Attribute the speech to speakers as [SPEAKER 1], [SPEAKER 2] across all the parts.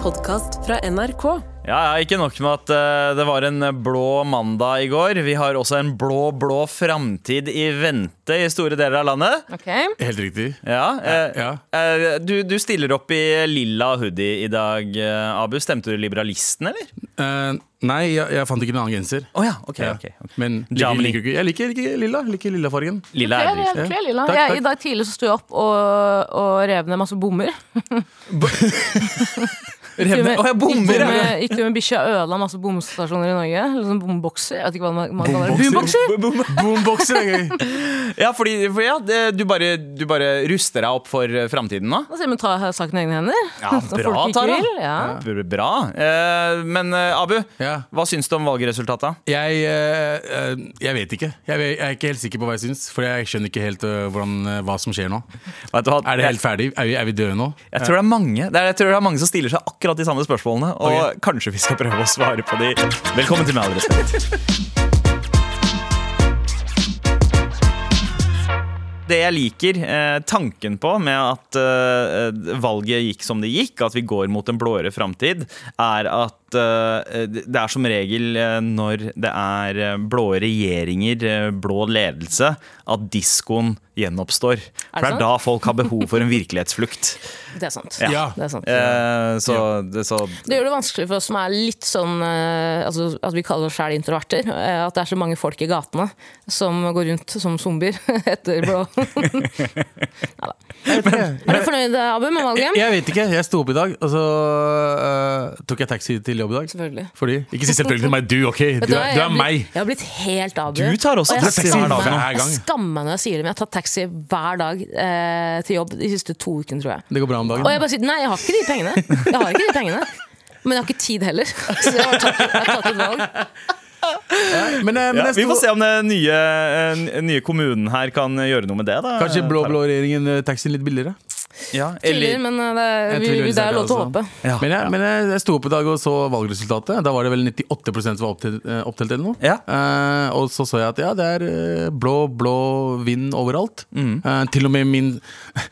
[SPEAKER 1] podkast fra NRK.
[SPEAKER 2] Ja, ja, Ikke nok med at eh, det var en blå mandag i går. Vi har også en blå, blå framtid i vente i store deler av landet.
[SPEAKER 3] Ok,
[SPEAKER 4] Helt riktig.
[SPEAKER 2] Ja, eh,
[SPEAKER 4] Ja.
[SPEAKER 2] eh, du, du stiller opp i lilla hoodie i dag, eh, Abu. Stemte du Liberalisten, eller?
[SPEAKER 4] Eh, nei, jeg, jeg fant ikke en annen genser.
[SPEAKER 2] Å ja, ok,
[SPEAKER 4] Ja.
[SPEAKER 2] ok, ok.
[SPEAKER 4] Men liker,
[SPEAKER 2] Jamini.
[SPEAKER 4] liker, ikke- jeg liker ikke lilla. Liker lillafargen.
[SPEAKER 2] Lilla er
[SPEAKER 3] jeg
[SPEAKER 2] dritt.
[SPEAKER 3] kler lilla.
[SPEAKER 4] Takk,
[SPEAKER 3] Jeg,
[SPEAKER 4] takk.
[SPEAKER 3] I dag tidlig så sto jeg opp og, og rev ned masse bommer. Gikk tur med-
[SPEAKER 2] Å ja, bommer,
[SPEAKER 3] Gikk tur
[SPEAKER 2] ja.
[SPEAKER 3] med, gikk tur med bikkja og ødela masse bomstasjoner i Norge. Eller sånn bombokser. Jeg vet ikke hva man, man kaller det. Boomboxer!
[SPEAKER 4] Boomboxer er gøy.
[SPEAKER 2] Ja, fordi, for ja, det, du, bare, du bare ruster deg opp for eh, framtiden nå?
[SPEAKER 3] Da sier man ta saken i egne hender.
[SPEAKER 2] Ja,
[SPEAKER 3] Som
[SPEAKER 2] bra,
[SPEAKER 3] folk ikke
[SPEAKER 2] Tara.
[SPEAKER 3] vil, Ja.
[SPEAKER 2] B- Bra. Eh, Men eh, Abu,
[SPEAKER 4] Ja.
[SPEAKER 2] hva syns du om valgresultatet?
[SPEAKER 4] Jeg, eh, eh, jeg vet ikke. Jeg, vet, jeg er ikke helt sikker på hva jeg syns. For jeg skjønner ikke helt eh, hvordan, eh, hva som skjer nå.
[SPEAKER 2] Vet du hva?
[SPEAKER 4] Er det helt ferdig? Er vi, er vi døde nå?
[SPEAKER 2] Jeg tror, det er mange, det er, jeg tror det er mange som stiller seg akkurat de samme spørsmålene. Og
[SPEAKER 4] Ok.
[SPEAKER 2] kanskje vi skal prøve å svare på de. Velkommen til Med all respekt. Det jeg liker eh, tanken på med at eh, valget gikk som det gikk, at vi går mot en blåere framtid, er at eh, det er som regel eh, når det er eh, blå regjeringer, eh, blå ledelse, at diskoen gjenoppstår. For det
[SPEAKER 3] sant?
[SPEAKER 2] er da folk har behov for en virkelighetsflukt.
[SPEAKER 3] Det er sant.
[SPEAKER 2] Ja.
[SPEAKER 4] Ja.
[SPEAKER 3] Det er sant.
[SPEAKER 2] Eh, så, det, så
[SPEAKER 3] Det gjør det vanskelig for oss som er litt sånn eh, altså, At vi kaller oss sjæl introverter. eh, At det er så mange folk i gatene som går rundt som zombier etter blå. Neida. Er du fornøyd, Abu, med
[SPEAKER 4] Jeg,
[SPEAKER 3] valget?
[SPEAKER 4] jeg vet ikke. Jeg sto opp i dag, og så eh, tok jeg taxi til jobb i dag.
[SPEAKER 3] Selvfølgelig.
[SPEAKER 4] Fordi Ikke si selvfølgelig til meg. Du, OK.
[SPEAKER 3] Vet
[SPEAKER 4] Du
[SPEAKER 3] hva,
[SPEAKER 4] er, du
[SPEAKER 3] jeg
[SPEAKER 4] er
[SPEAKER 3] har blitt-
[SPEAKER 4] meg.
[SPEAKER 3] Jeg har blitt helt Abu.
[SPEAKER 2] Du tar også
[SPEAKER 3] Og jeg
[SPEAKER 2] taxi hver
[SPEAKER 3] skammer
[SPEAKER 2] dag nå.
[SPEAKER 3] meg-
[SPEAKER 4] Hver gang.
[SPEAKER 3] Jeg skammer meg når jeg sier det, men jeg har tatt taxi hver dag eh, til jobb de siste to ukene, tror jeg.
[SPEAKER 4] Det går bra om dagen.
[SPEAKER 3] Og jeg bare sier nei, jeg har ikke de pengene. Jeg har ikke de pengene. Men jeg har ikke tid heller. Så jeg har tatt, jeg har tatt et valg.
[SPEAKER 4] Men, eh, men
[SPEAKER 2] ja,
[SPEAKER 4] jeg
[SPEAKER 2] Vi
[SPEAKER 4] sto-
[SPEAKER 2] får se om den nye, eh, n- nye kommunen her kan gjøre noe med det. Da.
[SPEAKER 4] Kanskje blå-blå regjeringen eh, taxien litt billigere.
[SPEAKER 2] Ja,
[SPEAKER 3] Tviler,
[SPEAKER 2] eller,
[SPEAKER 3] men eh, det er,
[SPEAKER 4] Jeg
[SPEAKER 3] vi,
[SPEAKER 4] tviler
[SPEAKER 3] vi, det er
[SPEAKER 4] selv,
[SPEAKER 3] lov til å
[SPEAKER 4] altså.
[SPEAKER 3] håpe.
[SPEAKER 2] ja.
[SPEAKER 4] Men, jeg, men jeg, jeg sto opp i dag og så valgresultatet. Da var det vel 98 som var opptelt, eh, opptelt eller noe.
[SPEAKER 2] Ja.
[SPEAKER 4] Eh, og så så jeg at ja, det er eh, blå, blå vind overalt.
[SPEAKER 3] Mm.
[SPEAKER 4] Eh, til og med min,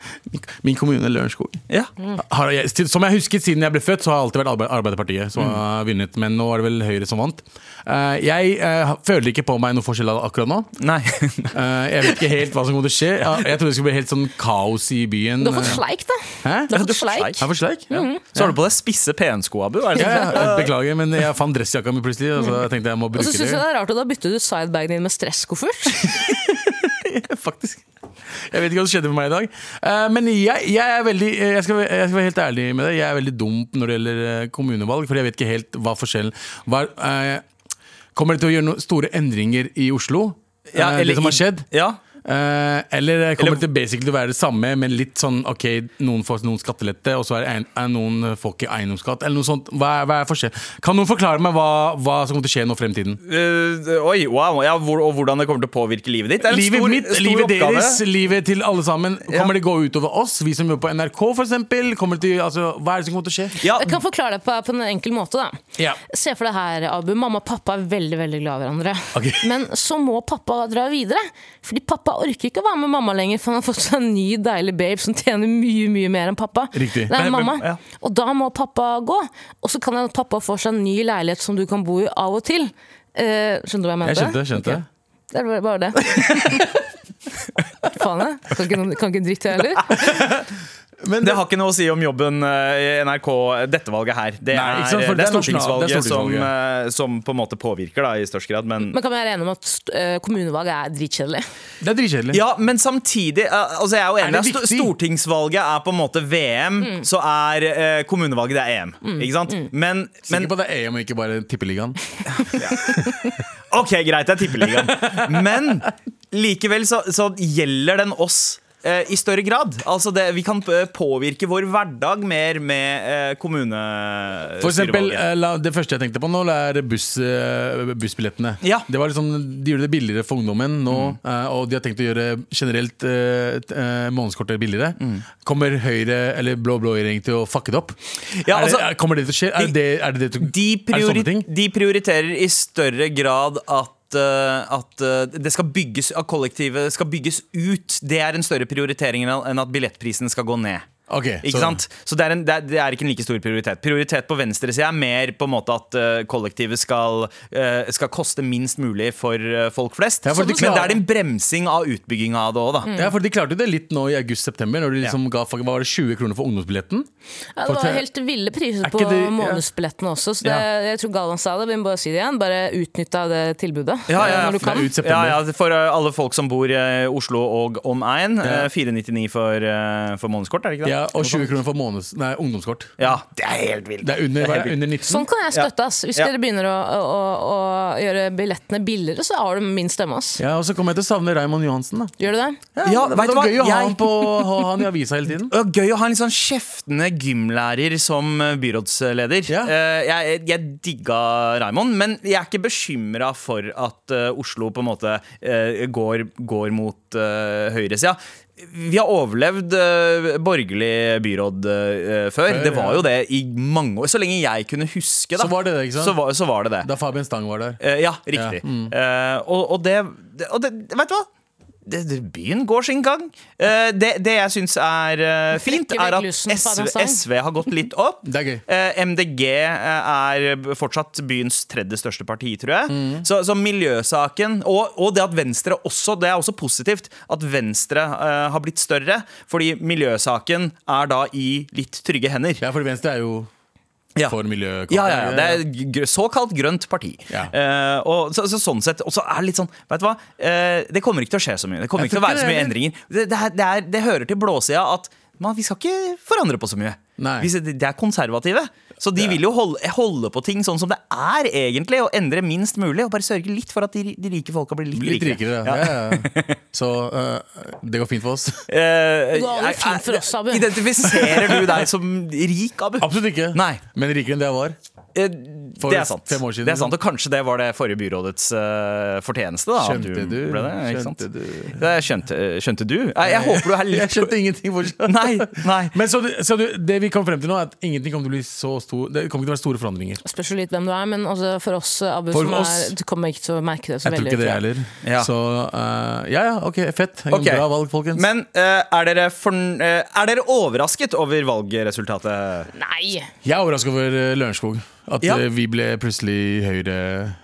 [SPEAKER 4] min kommune, Lørenskog.
[SPEAKER 2] ja.
[SPEAKER 4] Har jeg, til- som jeg husket siden jeg ble født, så har det alltid vært Arbe- Arbeiderpartiet
[SPEAKER 3] Mm.
[SPEAKER 4] som har vunnet. Men nå er det vel Høyre som vant. Eh, jeg eh, føler ikke på meg noe forskjell akkurat nå.
[SPEAKER 2] Nei.
[SPEAKER 4] Eh, jeg vet ikke helt hva som kommer til å skje. Jeg, jeg trodde det skulle bli helt sånn kaos i byen.
[SPEAKER 3] Du har fått sleik, da.
[SPEAKER 4] Hæ?
[SPEAKER 3] Du
[SPEAKER 2] du
[SPEAKER 3] har fått Mm.
[SPEAKER 2] får
[SPEAKER 3] sleik.
[SPEAKER 2] sleik.
[SPEAKER 4] Jeg har fått sleik? Ja.
[SPEAKER 2] Så har du på deg spisse pensko, Abu. Er det
[SPEAKER 4] Ja,
[SPEAKER 2] sånn?
[SPEAKER 4] ja, jeg beklager, men jeg fant dressjakka mi plutselig. Og så tenkte jeg må
[SPEAKER 3] Og
[SPEAKER 4] bruke
[SPEAKER 3] så syns jeg
[SPEAKER 4] det.
[SPEAKER 3] det er rart at du har byttet ut sidebagen din med stresskoffert.
[SPEAKER 4] Faktisk. Jeg vet ikke hva som skjedde med meg i dag. Eh, men jeg, jeg er veldig eh, jeg skal, jeg skal være helt ærlig med deg. Jeg er veldig dum når det gjelder eh, kommunevalg, for jeg vet ikke helt hva forskjellen hva, er- eh, Kommer det til å gjøre noen store endringer i Oslo?
[SPEAKER 2] Ja,
[SPEAKER 4] Eh,
[SPEAKER 2] eller
[SPEAKER 4] det som
[SPEAKER 2] i-
[SPEAKER 4] har skjedd?
[SPEAKER 2] Ja.
[SPEAKER 4] Eh, eller kommer
[SPEAKER 2] Eller-
[SPEAKER 4] det til basically å være det samme, men litt sånn ok, noen får noen skattelette, og så er det ein, er noen eh, får ikke eiendomsskatt, eller noe sånt. Hva er, hva er forskjell? Kan noen forklare meg hva, hva som kommer til å skje nå i fremtiden?
[SPEAKER 2] Eh, oi, wow. Ja, hvor, og hvordan det kommer til å påvirke livet ditt. Det er en
[SPEAKER 4] Livet
[SPEAKER 2] stor,
[SPEAKER 4] mitt,
[SPEAKER 2] stor
[SPEAKER 4] livet
[SPEAKER 2] oppgave.
[SPEAKER 4] deres, livet til alle sammen.
[SPEAKER 2] Ja.
[SPEAKER 4] Kommer det gå utover oss, vi som jobber på NRK f.eks.? Altså, hva er det som kommer til å skje?
[SPEAKER 2] Ja,
[SPEAKER 3] Jeg kan forklare det på, på en enkel måte. da
[SPEAKER 4] Ja.
[SPEAKER 3] Se for deg her, Abu. Mamma og pappa er veldig veldig glad i hverandre.
[SPEAKER 4] Ok.
[SPEAKER 3] Men så må pappa dra videre. Fordi pappa orker ikke å være med mamma lenger, for han har fått seg en ny deilig babe som tjener mye mye mer enn pappa.
[SPEAKER 4] Riktig.
[SPEAKER 3] Det er
[SPEAKER 4] Men- men-
[SPEAKER 3] mamma.
[SPEAKER 2] ja.
[SPEAKER 3] Og da må pappa gå. Og så kan han- pappa få seg en ny leilighet som du kan bo i av og til. Eh, skjønner du hva jeg mente?
[SPEAKER 4] Jeg skjønte, skjønte.
[SPEAKER 3] Ok. Det er bare- bare det. Faen, jeg. Kan ikke, noen- kan ikke en dritt, jeg heller.
[SPEAKER 2] Det har ikke noe å si om jobben eh, i NRK dette valget her. Det
[SPEAKER 4] Nei, ikke
[SPEAKER 2] er,
[SPEAKER 4] sant,
[SPEAKER 2] det
[SPEAKER 4] for
[SPEAKER 2] er
[SPEAKER 4] det er nasjonal-
[SPEAKER 2] stortingsvalget
[SPEAKER 4] det er
[SPEAKER 2] som,
[SPEAKER 4] stortingsvalget.
[SPEAKER 2] eh, som på en måte påvirker da, i størst grad. Men
[SPEAKER 3] Men kan vi være enige om at st- eh, kommunevalg er dritkjedelig?
[SPEAKER 4] Det er dritkjedelig.
[SPEAKER 2] Ja, men samtidig eh, altså jeg er jo
[SPEAKER 4] Er
[SPEAKER 2] enig,
[SPEAKER 4] det
[SPEAKER 2] at sto-
[SPEAKER 4] viktig? Mm.
[SPEAKER 2] Stortingsvalget er på en måte VM, så er eh, kommunevalget det er EM. Ikke sant? Men, men
[SPEAKER 4] Sikker på at det er EM og ikke bare Tippeligaen.
[SPEAKER 2] OK, greit, det er tippeligaen. Men likevel så, så gjelder den oss. eh, I større grad. Altså det, vi kan eh, påvirke vår hverdag mer med eh, kommunestyrevalget.
[SPEAKER 4] For eksempel, eh, la- det første jeg tenkte på nå, er buss, eh, bussbillettene.
[SPEAKER 2] Ja. Mm.
[SPEAKER 4] Det var liksom, de gjorde det billigere for ungdommen nå, eh, og de har tenkt å gjøre generelt eh, t- eh, månedskortet billigere.
[SPEAKER 2] Mm.
[SPEAKER 4] Kommer Høyre eller blå-blå regjering til å fucke det opp?
[SPEAKER 2] Ja,
[SPEAKER 4] Er det-
[SPEAKER 2] altså-
[SPEAKER 4] er, kommer det til å skje? Er
[SPEAKER 2] De-
[SPEAKER 4] det, er det, det,
[SPEAKER 2] de,
[SPEAKER 4] til- er det
[SPEAKER 2] priori
[SPEAKER 4] sånne ting?
[SPEAKER 2] de prioriterer i større grad at eh, at eh, det skal bygges At kollektivet skal bygges ut. Det er en større prioritering enn enn at billettprisen skal gå ned.
[SPEAKER 4] Ok,
[SPEAKER 2] ikke
[SPEAKER 4] så-
[SPEAKER 2] sant? Så det er, en, det, er, det er ikke en like stor prioritet. Prioritet på venstresida er mer på en måte at eh, kollektivet skal, eh, skal koste minst mulig for eh, folk flest.
[SPEAKER 4] Ja, for de
[SPEAKER 2] Men det
[SPEAKER 4] klarer-
[SPEAKER 2] er en bremsing av utbygginga av det òg, da.
[SPEAKER 3] Mm.
[SPEAKER 4] Ja, for De klarte jo det litt nå i august-september, når de liksom ga fuck, hva var det, 20 kroner for ungdomsbilletten.
[SPEAKER 3] Ja, det
[SPEAKER 4] For
[SPEAKER 3] var
[SPEAKER 4] te-
[SPEAKER 3] helt ville priser
[SPEAKER 4] Er
[SPEAKER 3] på
[SPEAKER 4] ikke det- ja.
[SPEAKER 3] månedsbillettene også. Så det, jeg tror Galvan sa det, vi må bare si det igjen. Bare utnytt av det tilbudet
[SPEAKER 2] Ja, ja,
[SPEAKER 3] eh,
[SPEAKER 2] ja.
[SPEAKER 3] når du kan.
[SPEAKER 4] Nei, ut september.
[SPEAKER 2] Ja, ja, for eh, alle folk som bor eh, i Oslo og omegn. eh, 499 for, eh, for månedskort, er det ikke det?
[SPEAKER 4] Ja, og 20 kroner for måneds, nei, ungdomskort.
[SPEAKER 2] Ja, det er helt vilt.
[SPEAKER 4] Det er under, hva er det, under 19.
[SPEAKER 3] Sånn kan jeg støtte. ass. Hvis
[SPEAKER 2] Ja.
[SPEAKER 3] dere begynner å, å, å gjøre billettene billigere, så har du min stemme. Ass.
[SPEAKER 4] Ja, Og så kommer jeg til å savne Raymond Johansen. da
[SPEAKER 3] Gjør du det?
[SPEAKER 2] Ja,
[SPEAKER 4] det
[SPEAKER 2] vet
[SPEAKER 4] var
[SPEAKER 2] du hva?
[SPEAKER 4] gøy å ha
[SPEAKER 2] Jeg-
[SPEAKER 4] han, på, ha han i avisa hele tiden.
[SPEAKER 2] Det var gøy å ha en litt sånn kjeftende gymlærer som eh, byrådsleder.
[SPEAKER 4] Ja.
[SPEAKER 2] Eh, Jeg, jeg digga Raymond, men jeg er ikke bekymra for at eh, Oslo på en måte eh, går, går mot eh, høyresida. Vi har overlevd eh, borgerlig byråd eh, før.
[SPEAKER 4] Før,
[SPEAKER 2] Det var
[SPEAKER 4] ja.
[SPEAKER 2] jo det i mange år. Så lenge jeg kunne huske, da.
[SPEAKER 4] Så var det det, ikke sant?
[SPEAKER 2] Så var, så var det det.
[SPEAKER 4] Da Fabian Stang var der.
[SPEAKER 2] Eh, ja, riktig. Eh, og, og det Og det, vet du hva? Det, det, byen går sin gang. Eh, det, det jeg syns er eh, fint,
[SPEAKER 3] Trekker
[SPEAKER 2] er
[SPEAKER 3] vekk
[SPEAKER 2] at
[SPEAKER 3] lysen fra
[SPEAKER 2] SV,
[SPEAKER 3] den sangen.
[SPEAKER 2] SV har gått litt opp.
[SPEAKER 4] Det er gøy.
[SPEAKER 2] Eh, MDG eh, er fortsatt byens tredje største parti, tror jeg. Så, så miljøsaken og, og det at Venstre også Det er også positivt at Venstre eh, har blitt større. Fordi miljøsaken er da i litt trygge hender.
[SPEAKER 4] Ja, for Venstre er jo
[SPEAKER 2] Ja.
[SPEAKER 4] for miljøkamp.
[SPEAKER 2] Ja, ja, ja, det er et gr- såkalt grønt parti.
[SPEAKER 4] Ja.
[SPEAKER 2] Eh, og så, så sånn sett, og så er det litt sånn, vet du hva, Eh, det kommer ikke til å skje så mye. Det kommer
[SPEAKER 4] Jeg
[SPEAKER 2] ikke til å
[SPEAKER 4] tror
[SPEAKER 2] være så
[SPEAKER 4] ikke
[SPEAKER 2] mye
[SPEAKER 4] det
[SPEAKER 2] endringer. Det, det, er, det, er, det hører til blåsida at man, vi skal ikke forandre på så mye.
[SPEAKER 4] Nei.
[SPEAKER 2] Vi, de er konservative, så de
[SPEAKER 4] Ja.
[SPEAKER 2] vil jo holde, holde på ting sånn som det er egentlig, og endre minst mulig, og bare sørge litt for at de, de rike folka blir litt,
[SPEAKER 4] Litt rikere, ja.
[SPEAKER 2] Ja.
[SPEAKER 4] ja, ja. Så eh, det går fint for oss.
[SPEAKER 2] Eh,
[SPEAKER 3] Det går aldri
[SPEAKER 2] er-
[SPEAKER 3] fint for
[SPEAKER 2] er-
[SPEAKER 3] oss, Abu.
[SPEAKER 2] Identifiserer du deg som rik, Abu?
[SPEAKER 4] Absolutt ikke.
[SPEAKER 2] Nei.
[SPEAKER 4] Men rikere enn det jeg var.
[SPEAKER 2] Eh,
[SPEAKER 4] For
[SPEAKER 2] det er sant.
[SPEAKER 4] fem år siden,
[SPEAKER 2] det er sant, Og kanskje det var det forrige byrådets eh, fortjeneste. Da, at
[SPEAKER 4] Skjønte du?
[SPEAKER 2] ble det, ikke sant?
[SPEAKER 4] Skjønte du?
[SPEAKER 2] Det er skjønte, eh, skjønte du? Nei, jeg håper du er
[SPEAKER 4] Jeg
[SPEAKER 2] litt
[SPEAKER 4] skjønte ingenting fortsatt.
[SPEAKER 2] Nei, nei.
[SPEAKER 4] Men så, du- så du, det vi kom frem til nå, er at ingenting kommer til å bli så stor Det kommer ikke til å være store forandringer.
[SPEAKER 3] Spørs jo litt hvem du er, men altså for oss, Abu,
[SPEAKER 4] For
[SPEAKER 3] som
[SPEAKER 4] oss-
[SPEAKER 3] er, du kommer ikke til å merke det så
[SPEAKER 4] Jeg tror
[SPEAKER 3] veldig.
[SPEAKER 4] ikke det
[SPEAKER 3] tror jeg.
[SPEAKER 4] heller.
[SPEAKER 2] Ja.
[SPEAKER 4] Så eh, ja, ja, ok, fett.
[SPEAKER 2] Ok.
[SPEAKER 4] Bra valg, folkens.
[SPEAKER 2] Men eh, er, dere forn- eh, er dere overrasket over valgresultatet?
[SPEAKER 3] Nei!
[SPEAKER 4] Jeg er overraska over eh, Lørenskog. At
[SPEAKER 2] Ja.
[SPEAKER 4] eh, vi ble plutselig Høyre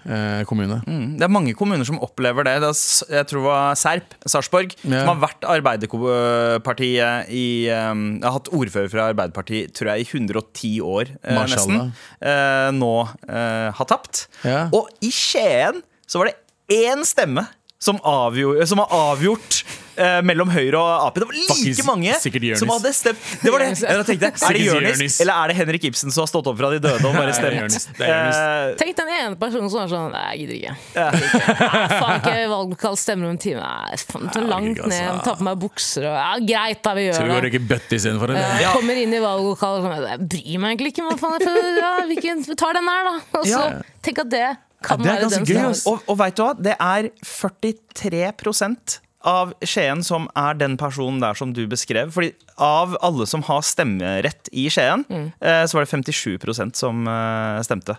[SPEAKER 4] eh, kommune.
[SPEAKER 2] Mm, Det er mange kommuner som opplever det. det er, s- jeg tror det var Serp, Sarpsborg,
[SPEAKER 4] Ja.
[SPEAKER 2] som har vært Arbeiderpartiet i um, Har hatt ordfører fra Arbeiderpartiet tror jeg, i 110 år, eh,
[SPEAKER 4] Mashallah.
[SPEAKER 2] nesten. Eh, nå eh, har tapt.
[SPEAKER 4] Ja.
[SPEAKER 2] Og i Skien så var det én stemme som, avgjorde, som har avgjort eh, mellom Høyre og Ap. Det var like
[SPEAKER 4] Fuckings
[SPEAKER 2] mange
[SPEAKER 4] sikkert Jonis.
[SPEAKER 2] som hadde stemt Det var det! Jeg tenkte, er det
[SPEAKER 4] Sikkert
[SPEAKER 2] Jonis,
[SPEAKER 4] Jonis.
[SPEAKER 2] eller er det Henrik Ibsen som har stått opp fra de døde og bare
[SPEAKER 4] Nei, det er Jonis.
[SPEAKER 2] stemt?
[SPEAKER 4] Det er Jonis.
[SPEAKER 2] Eh,
[SPEAKER 3] Tenk den ene personen som er sånn Nei, jeg gidder ikke. Nei, faen ikke valgkall stemmer om en time. Nei, faen, så langt
[SPEAKER 4] orker ikke,
[SPEAKER 3] ned.
[SPEAKER 4] altså.
[SPEAKER 3] Ta på meg bukser og Ja, greit, da, vi
[SPEAKER 4] Skal vi gå og
[SPEAKER 3] gjør det.
[SPEAKER 4] røyke bøtte istedenfor? eller?
[SPEAKER 3] Jeg Eh, kommer inn i valglokalet og sånn Jeg bryr meg egentlig ikke, men hva faen. Jeg, ja, hvilken, vi tar den her, da. Og så
[SPEAKER 2] Ja.
[SPEAKER 3] tenk at det kan
[SPEAKER 4] Ja, det er
[SPEAKER 3] være
[SPEAKER 4] ganske
[SPEAKER 3] den
[SPEAKER 4] gøy,
[SPEAKER 3] stemmen.
[SPEAKER 4] ass.
[SPEAKER 2] Og, og vet du hva? Det er 43 av Skien som er den personen der som du beskrev. Fordi av alle som har stemmerett i Skien, eh, så var det 57 som eh, stemte.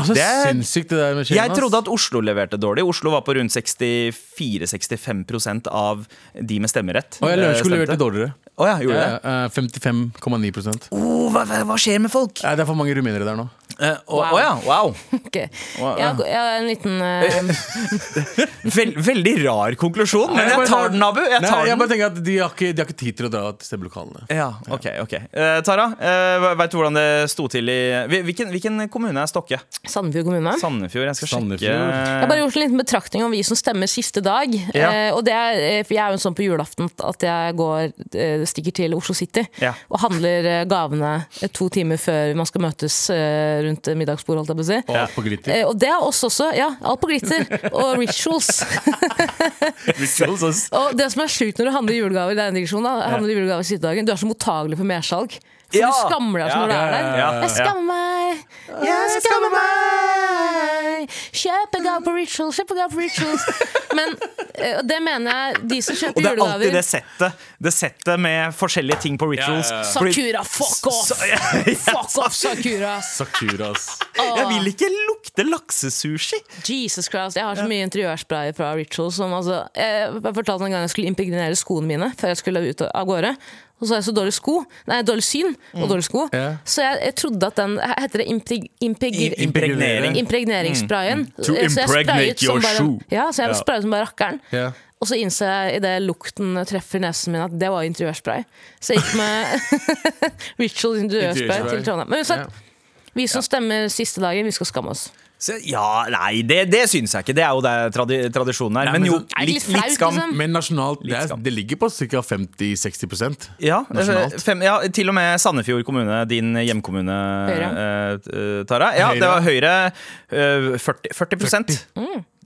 [SPEAKER 4] Altså,
[SPEAKER 2] Det er-
[SPEAKER 4] Sinnssykt, det der med Skien.
[SPEAKER 2] Jeg trodde at Oslo leverte dårlig. Oslo var på rundt 64-65 av de med stemmerett.
[SPEAKER 4] Og jeg Lørenskog
[SPEAKER 2] eh, stemte.
[SPEAKER 4] leverte dårligere.
[SPEAKER 2] Å ja, gjorde det?
[SPEAKER 4] Eh, eh, 55,9
[SPEAKER 2] Oh, hva, hva- hva skjer med folk?
[SPEAKER 4] Nei, Det er for mange rumenere der nå.
[SPEAKER 2] Eh, Å å ja, wow.
[SPEAKER 3] Ok. Jeg har, jeg har en liten eh,
[SPEAKER 2] Vel, veldig rar konklusjon, men jeg tar den, Abu. Jeg
[SPEAKER 4] Nei,
[SPEAKER 2] tar
[SPEAKER 4] jeg
[SPEAKER 2] den.
[SPEAKER 4] bare tenker at De har ikke, de har ikke tid til å dra til stemmelokalene.
[SPEAKER 2] Ja, ok, ok Eh, Tara, uh, vet du hvordan det sto til i hvil- hvilken, hvilken kommune er Stokke?
[SPEAKER 3] Sandefjord kommune.
[SPEAKER 2] Sandefjord, jeg skal Eh,
[SPEAKER 4] Sandefjord.
[SPEAKER 3] Jeg har
[SPEAKER 2] sjekke
[SPEAKER 3] bare gjort en liten betraktning om vi som stemmer siste dag.
[SPEAKER 2] Ja.
[SPEAKER 3] Eh, og det er, eh, for jeg er jo sånn på julaften at jeg går, eh, stikker til Oslo City
[SPEAKER 2] Ja.
[SPEAKER 3] og handler eh, gavene eh, to timer før man skal møtes eh, rundt eh, middagsbordet, holdt jeg på å si.
[SPEAKER 4] Og alt på glitter.
[SPEAKER 3] Eh, og det er oss også. Ja, alt på glitter. Og rituals. Og det som er sjukt når du handler julegaver, det er en digresjon, da, handler julegaver siste dagen, du er så mottagelig for mersalg. For
[SPEAKER 2] Ja.
[SPEAKER 3] du skammer deg sånn når du
[SPEAKER 2] Ja,
[SPEAKER 4] ja,
[SPEAKER 3] er der.
[SPEAKER 4] ja, ja,
[SPEAKER 2] ja.
[SPEAKER 3] Jeg skammer meg. Jeg skammer meg. Kjøp en gave på rituals, kjøp en gave på rituals. Men eh, og det mener jeg, de som
[SPEAKER 2] Og
[SPEAKER 3] kjøper
[SPEAKER 2] det er alltid det
[SPEAKER 3] julegaver
[SPEAKER 2] settet Det settet med forskjellige ting på rituals
[SPEAKER 4] Ja, ja, ja.
[SPEAKER 2] Fordi-
[SPEAKER 3] Sakura, fuck off!
[SPEAKER 2] Så- ja, ja,
[SPEAKER 3] Fuck off, Sakura.
[SPEAKER 4] Sakura, ass.
[SPEAKER 2] Jeg vil ikke lukte ekte laksesushi!
[SPEAKER 3] Jesus Christ, Jeg har så mye interiørspray fra Ritual. Som, altså, jeg, jeg fortalte en gang jeg skulle impregnere skoene mine før jeg skulle ut av gårde. Og så har jeg så dårlig sko Nei, dårlig syn og dårlig sko.
[SPEAKER 4] Mm. Ja.
[SPEAKER 3] Så jeg, jeg trodde at den Heter det impreg, impreg,
[SPEAKER 2] Impregnering. Mm.
[SPEAKER 3] impregneringssprayen?
[SPEAKER 2] To
[SPEAKER 3] Så jeg
[SPEAKER 2] impregnate
[SPEAKER 3] sprayet som
[SPEAKER 2] your
[SPEAKER 3] bare-
[SPEAKER 2] shoe.
[SPEAKER 3] Ja, så jeg
[SPEAKER 2] Ja.
[SPEAKER 3] sprayet som bare rakkeren.
[SPEAKER 4] Ja.
[SPEAKER 3] Og så innser jeg idet lukten treffer nesen min at det var interiørspray. Så jeg gikk med Ritual interiørspray
[SPEAKER 4] Interiørspray.
[SPEAKER 3] til Trondheim. Men uansett, vi som stemmer siste dagen, vi skal skamme oss.
[SPEAKER 2] Så, ja, nei, det, det syns jeg ikke. Det er jo det tradi tradisjonen er.
[SPEAKER 4] Nei,
[SPEAKER 2] men
[SPEAKER 4] men
[SPEAKER 2] jo,
[SPEAKER 4] sånn-
[SPEAKER 3] Er det
[SPEAKER 2] litt,
[SPEAKER 3] litt flaut,
[SPEAKER 2] litt skam.
[SPEAKER 3] liksom?
[SPEAKER 4] Men nasjonalt, det, er,
[SPEAKER 2] skam.
[SPEAKER 4] det ligger på ca. 50-60
[SPEAKER 2] Ja, eh,
[SPEAKER 4] Nasjonalt.
[SPEAKER 2] fem, ja, til og med Sandefjord kommune, din hjemkommune,
[SPEAKER 3] Høyre.
[SPEAKER 2] eh, Tara. Ja,
[SPEAKER 4] Høyre.
[SPEAKER 2] det var Høyre. eh, 40, 40 Det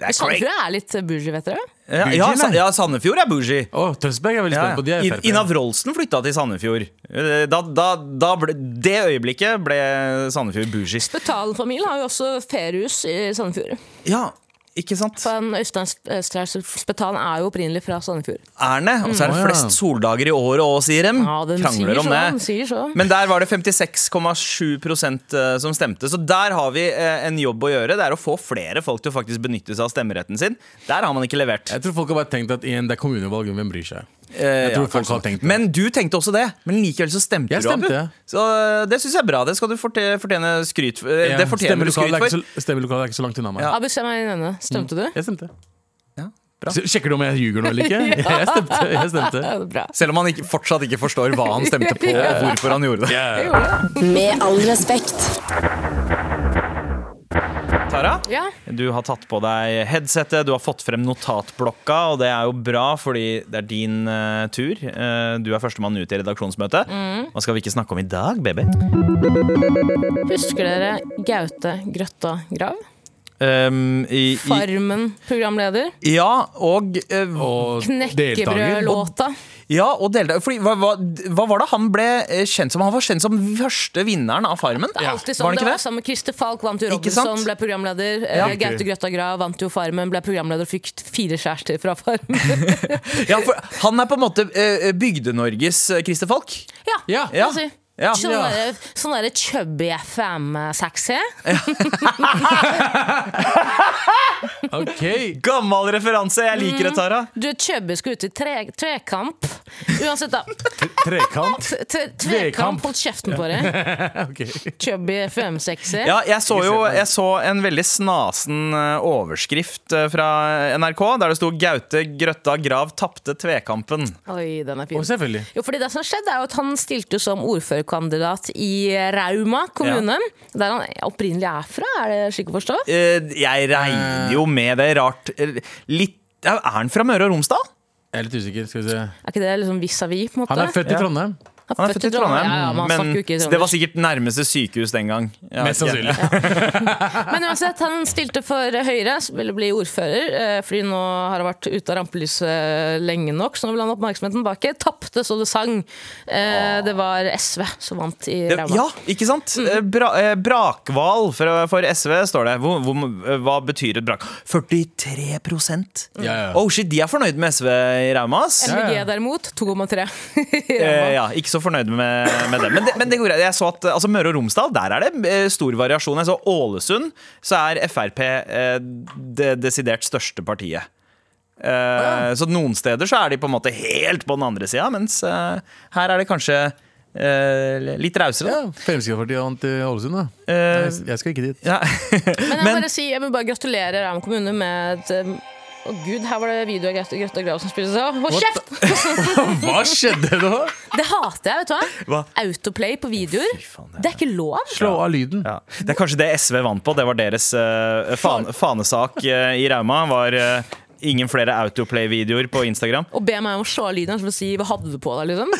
[SPEAKER 2] er
[SPEAKER 3] Sandefjord
[SPEAKER 2] crazy.
[SPEAKER 3] er litt bougie, vet dere.
[SPEAKER 2] Ja,
[SPEAKER 4] Mm. Bougie,
[SPEAKER 2] ja, Sa-
[SPEAKER 4] nei.
[SPEAKER 2] ja, Sandefjord er bougie.
[SPEAKER 4] Å, Tønsberg er veldig
[SPEAKER 2] Ja,
[SPEAKER 4] spent på. De
[SPEAKER 2] ja.
[SPEAKER 4] er
[SPEAKER 2] I-
[SPEAKER 4] Frp.
[SPEAKER 2] Ina Wroldsen flytta til Sandefjord. Eh, Da, da, da ble, det øyeblikket ble Sandefjord bougie.
[SPEAKER 3] Spetalen-familien har jo også feriehus i Sandefjord.
[SPEAKER 2] Ja, ikke sant?
[SPEAKER 3] Den Øystein Strauss Spetalen er jo opprinnelig fra Sandefjord.
[SPEAKER 2] Erne. Og så er det
[SPEAKER 4] Å, ja.
[SPEAKER 2] flest soldager i året òg, sier dem.
[SPEAKER 3] Ja, den sier
[SPEAKER 2] Krangler om
[SPEAKER 3] sånn,
[SPEAKER 2] det.
[SPEAKER 3] sier sånn.
[SPEAKER 2] Men der var det 56,7 eh, som stemte. Så der har vi eh, en jobb å gjøre. Det er å få flere folk til å faktisk benytte seg av stemmeretten sin. Der har man ikke levert.
[SPEAKER 4] Jeg tror folk har bare tenkt at igjen, det er kommunevalg, hvem bryr seg?
[SPEAKER 2] Eh,
[SPEAKER 4] tror
[SPEAKER 2] ja,
[SPEAKER 4] folk
[SPEAKER 2] kanskje.
[SPEAKER 4] har tenkt det.
[SPEAKER 2] Men du tenkte også det. Men likevel så stemte
[SPEAKER 4] Jeg
[SPEAKER 2] du, Abu.
[SPEAKER 4] stemte.
[SPEAKER 2] Så eh, det syns jeg er bra. Det skal du forte fortjene skryt for. Eh, det fortjener du skryt
[SPEAKER 4] Stemmelokalet er,
[SPEAKER 2] for.
[SPEAKER 4] ikke så- stemmelokalet er ikke så langt unna meg.
[SPEAKER 2] Ja. Mm.
[SPEAKER 3] Abu, se meg i øynene. Stemte du?
[SPEAKER 4] Jeg stemte.
[SPEAKER 2] Ja, bra.
[SPEAKER 4] Så Sjekker du om jeg ljuger nå eller ikke? Jeg stemte. Jeg stemte.
[SPEAKER 3] Ja, det er bra.
[SPEAKER 2] Selv om han ikke, fortsatt ikke forstår hva han stemte på, og hvorfor han gjorde det.
[SPEAKER 4] Yeah.
[SPEAKER 1] Med all respekt.
[SPEAKER 2] Tara?
[SPEAKER 3] Ja.
[SPEAKER 2] Du har tatt på deg headsetet, du har fått frem notatblokka, og det er jo bra, fordi det er din eh, tur. Eh, du er førstemann ut i redaksjonsmøtet. Hva skal vi ikke snakke om i dag, baby?
[SPEAKER 3] Husker dere Gaute Grøtta Grav?
[SPEAKER 2] Um, i, i,
[SPEAKER 3] Farmen-programleder.
[SPEAKER 2] ja, og eh,
[SPEAKER 4] Og deltaker.
[SPEAKER 3] Knekkebrødlåta.
[SPEAKER 2] Ja, og delta- fordi, hva, hva, hva var det han ble eh, kjent som? Han var kjent som første vinneren av Farmen.
[SPEAKER 3] Det er alltid
[SPEAKER 2] Var
[SPEAKER 3] sånn.
[SPEAKER 2] han
[SPEAKER 3] Det
[SPEAKER 2] ikke
[SPEAKER 3] var
[SPEAKER 2] det?
[SPEAKER 3] sammen med Christer Falk vant jo
[SPEAKER 2] Ikke sant?
[SPEAKER 3] Robinson, ble programleder.
[SPEAKER 2] Ja.
[SPEAKER 3] Eh, Gaute Grøtta Grav vant jo Farmen, ble programleder og fikk fire kjærester fra Farmen.
[SPEAKER 2] Ja, for han er på en måte eh, Bygde-Norges eh, Christer Falk.
[SPEAKER 3] ja,
[SPEAKER 4] Ja.
[SPEAKER 3] kan man si.
[SPEAKER 2] Ja.
[SPEAKER 3] Sånn derre sånn der chubby FM-sexy.
[SPEAKER 4] Ok.
[SPEAKER 2] Gammel referanse! Jeg liker det, Tara.
[SPEAKER 3] Du er chubby, skal ut i tre, trekamp. Uansett, da.
[SPEAKER 4] Trekant.
[SPEAKER 3] T- t-
[SPEAKER 4] Trekamp.
[SPEAKER 3] Trekamp holdt kjeften på deg.
[SPEAKER 4] Ok.
[SPEAKER 3] Chubby FM-sexy.
[SPEAKER 2] Ja, jeg så jo jeg så en veldig snasen eh, overskrift eh, fra NRK, der det sto 'Gaute Grøtta Grav tapte tvekampen'.
[SPEAKER 3] Oi, den er fin.
[SPEAKER 4] Og selvfølgelig.
[SPEAKER 3] Jo, fordi det som skjedde er jo at Han stilte som ordførerkandidat i Rauma kommune, der han opprinnelig er fra. Er det slik å forstå?
[SPEAKER 2] Eh, Jeg regner jo med det rart eh, Litt Er han fra Møre og Romsdal?
[SPEAKER 4] Jeg er litt usikker. Skal vi se.
[SPEAKER 3] Er ikke det liksom vis-à-vis? på en måte?
[SPEAKER 4] Han er født i Trondheim.
[SPEAKER 2] Han er født i Trondheim,
[SPEAKER 3] Ja, ja, men han
[SPEAKER 2] men
[SPEAKER 3] snakker jo ikke i
[SPEAKER 2] det var
[SPEAKER 3] Trondheim.
[SPEAKER 2] sikkert nærmeste sykehus den gang. Ja,
[SPEAKER 4] Mest
[SPEAKER 2] ok.
[SPEAKER 4] sannsynlig.
[SPEAKER 3] Men uansett, han stilte for Høyre, som ville bli ordfører, eh, fordi nå har han vært ute av rampelyset lenge nok, så nå vil han ha oppmerksomheten tilbake. Tapte så det sang. Eh, Det var SV som vant i
[SPEAKER 2] Det,
[SPEAKER 3] Rauma.
[SPEAKER 2] ja, ikke sant? Eh, Bra, eh, brakval for, for SV står det. Hvor, hvor, eh, hva betyr et brak? 43
[SPEAKER 4] Ja, ja.
[SPEAKER 2] Oh shit, De er fornøyd med SV i Rauma. ass.
[SPEAKER 3] MDG
[SPEAKER 4] ja.
[SPEAKER 3] derimot, 2,3. i
[SPEAKER 2] Eh,
[SPEAKER 3] Rauma.
[SPEAKER 2] ja, ikke så fornøyd med, med det. Men det, men det går greit. Jeg så at eh, altså, Møre og Romsdal, der er det eh, stor variasjon. Jeg så Ålesund, så er Frp eh, det desidert største partiet. Eh, Så noen steder så er de på en måte helt på den andre sida, mens eh, her er det kanskje eh, litt rausere.
[SPEAKER 4] Ja,
[SPEAKER 2] da.
[SPEAKER 4] Fremskrittspartiet vant i Ålesund, da.
[SPEAKER 2] Eh,
[SPEAKER 4] Jeg- Jeg skal ikke dit.
[SPEAKER 2] Ja.
[SPEAKER 3] Men jeg må
[SPEAKER 2] Men-
[SPEAKER 3] bare si, jeg vil bare gratulere Rauma kommune med et um, å gud, her var det video av Grete Grøtta Grav som spilles av. Hold kjeft!
[SPEAKER 4] Hva skjedde nå?
[SPEAKER 3] Det hater jeg, vet du hva.
[SPEAKER 2] Hva?
[SPEAKER 3] Autoplay på videoer.
[SPEAKER 2] faen,
[SPEAKER 3] Det er ikke lov.
[SPEAKER 4] Slå av lyden.
[SPEAKER 2] Ja. Det er kanskje det SV vant på. Det var deres eh, fan fanesak eh, i Rauma. Var eh, ingen flere Autoplay-videoer på Instagram.
[SPEAKER 3] Og be meg om å slå av lyden som å si 'hva hadde du på deg', liksom.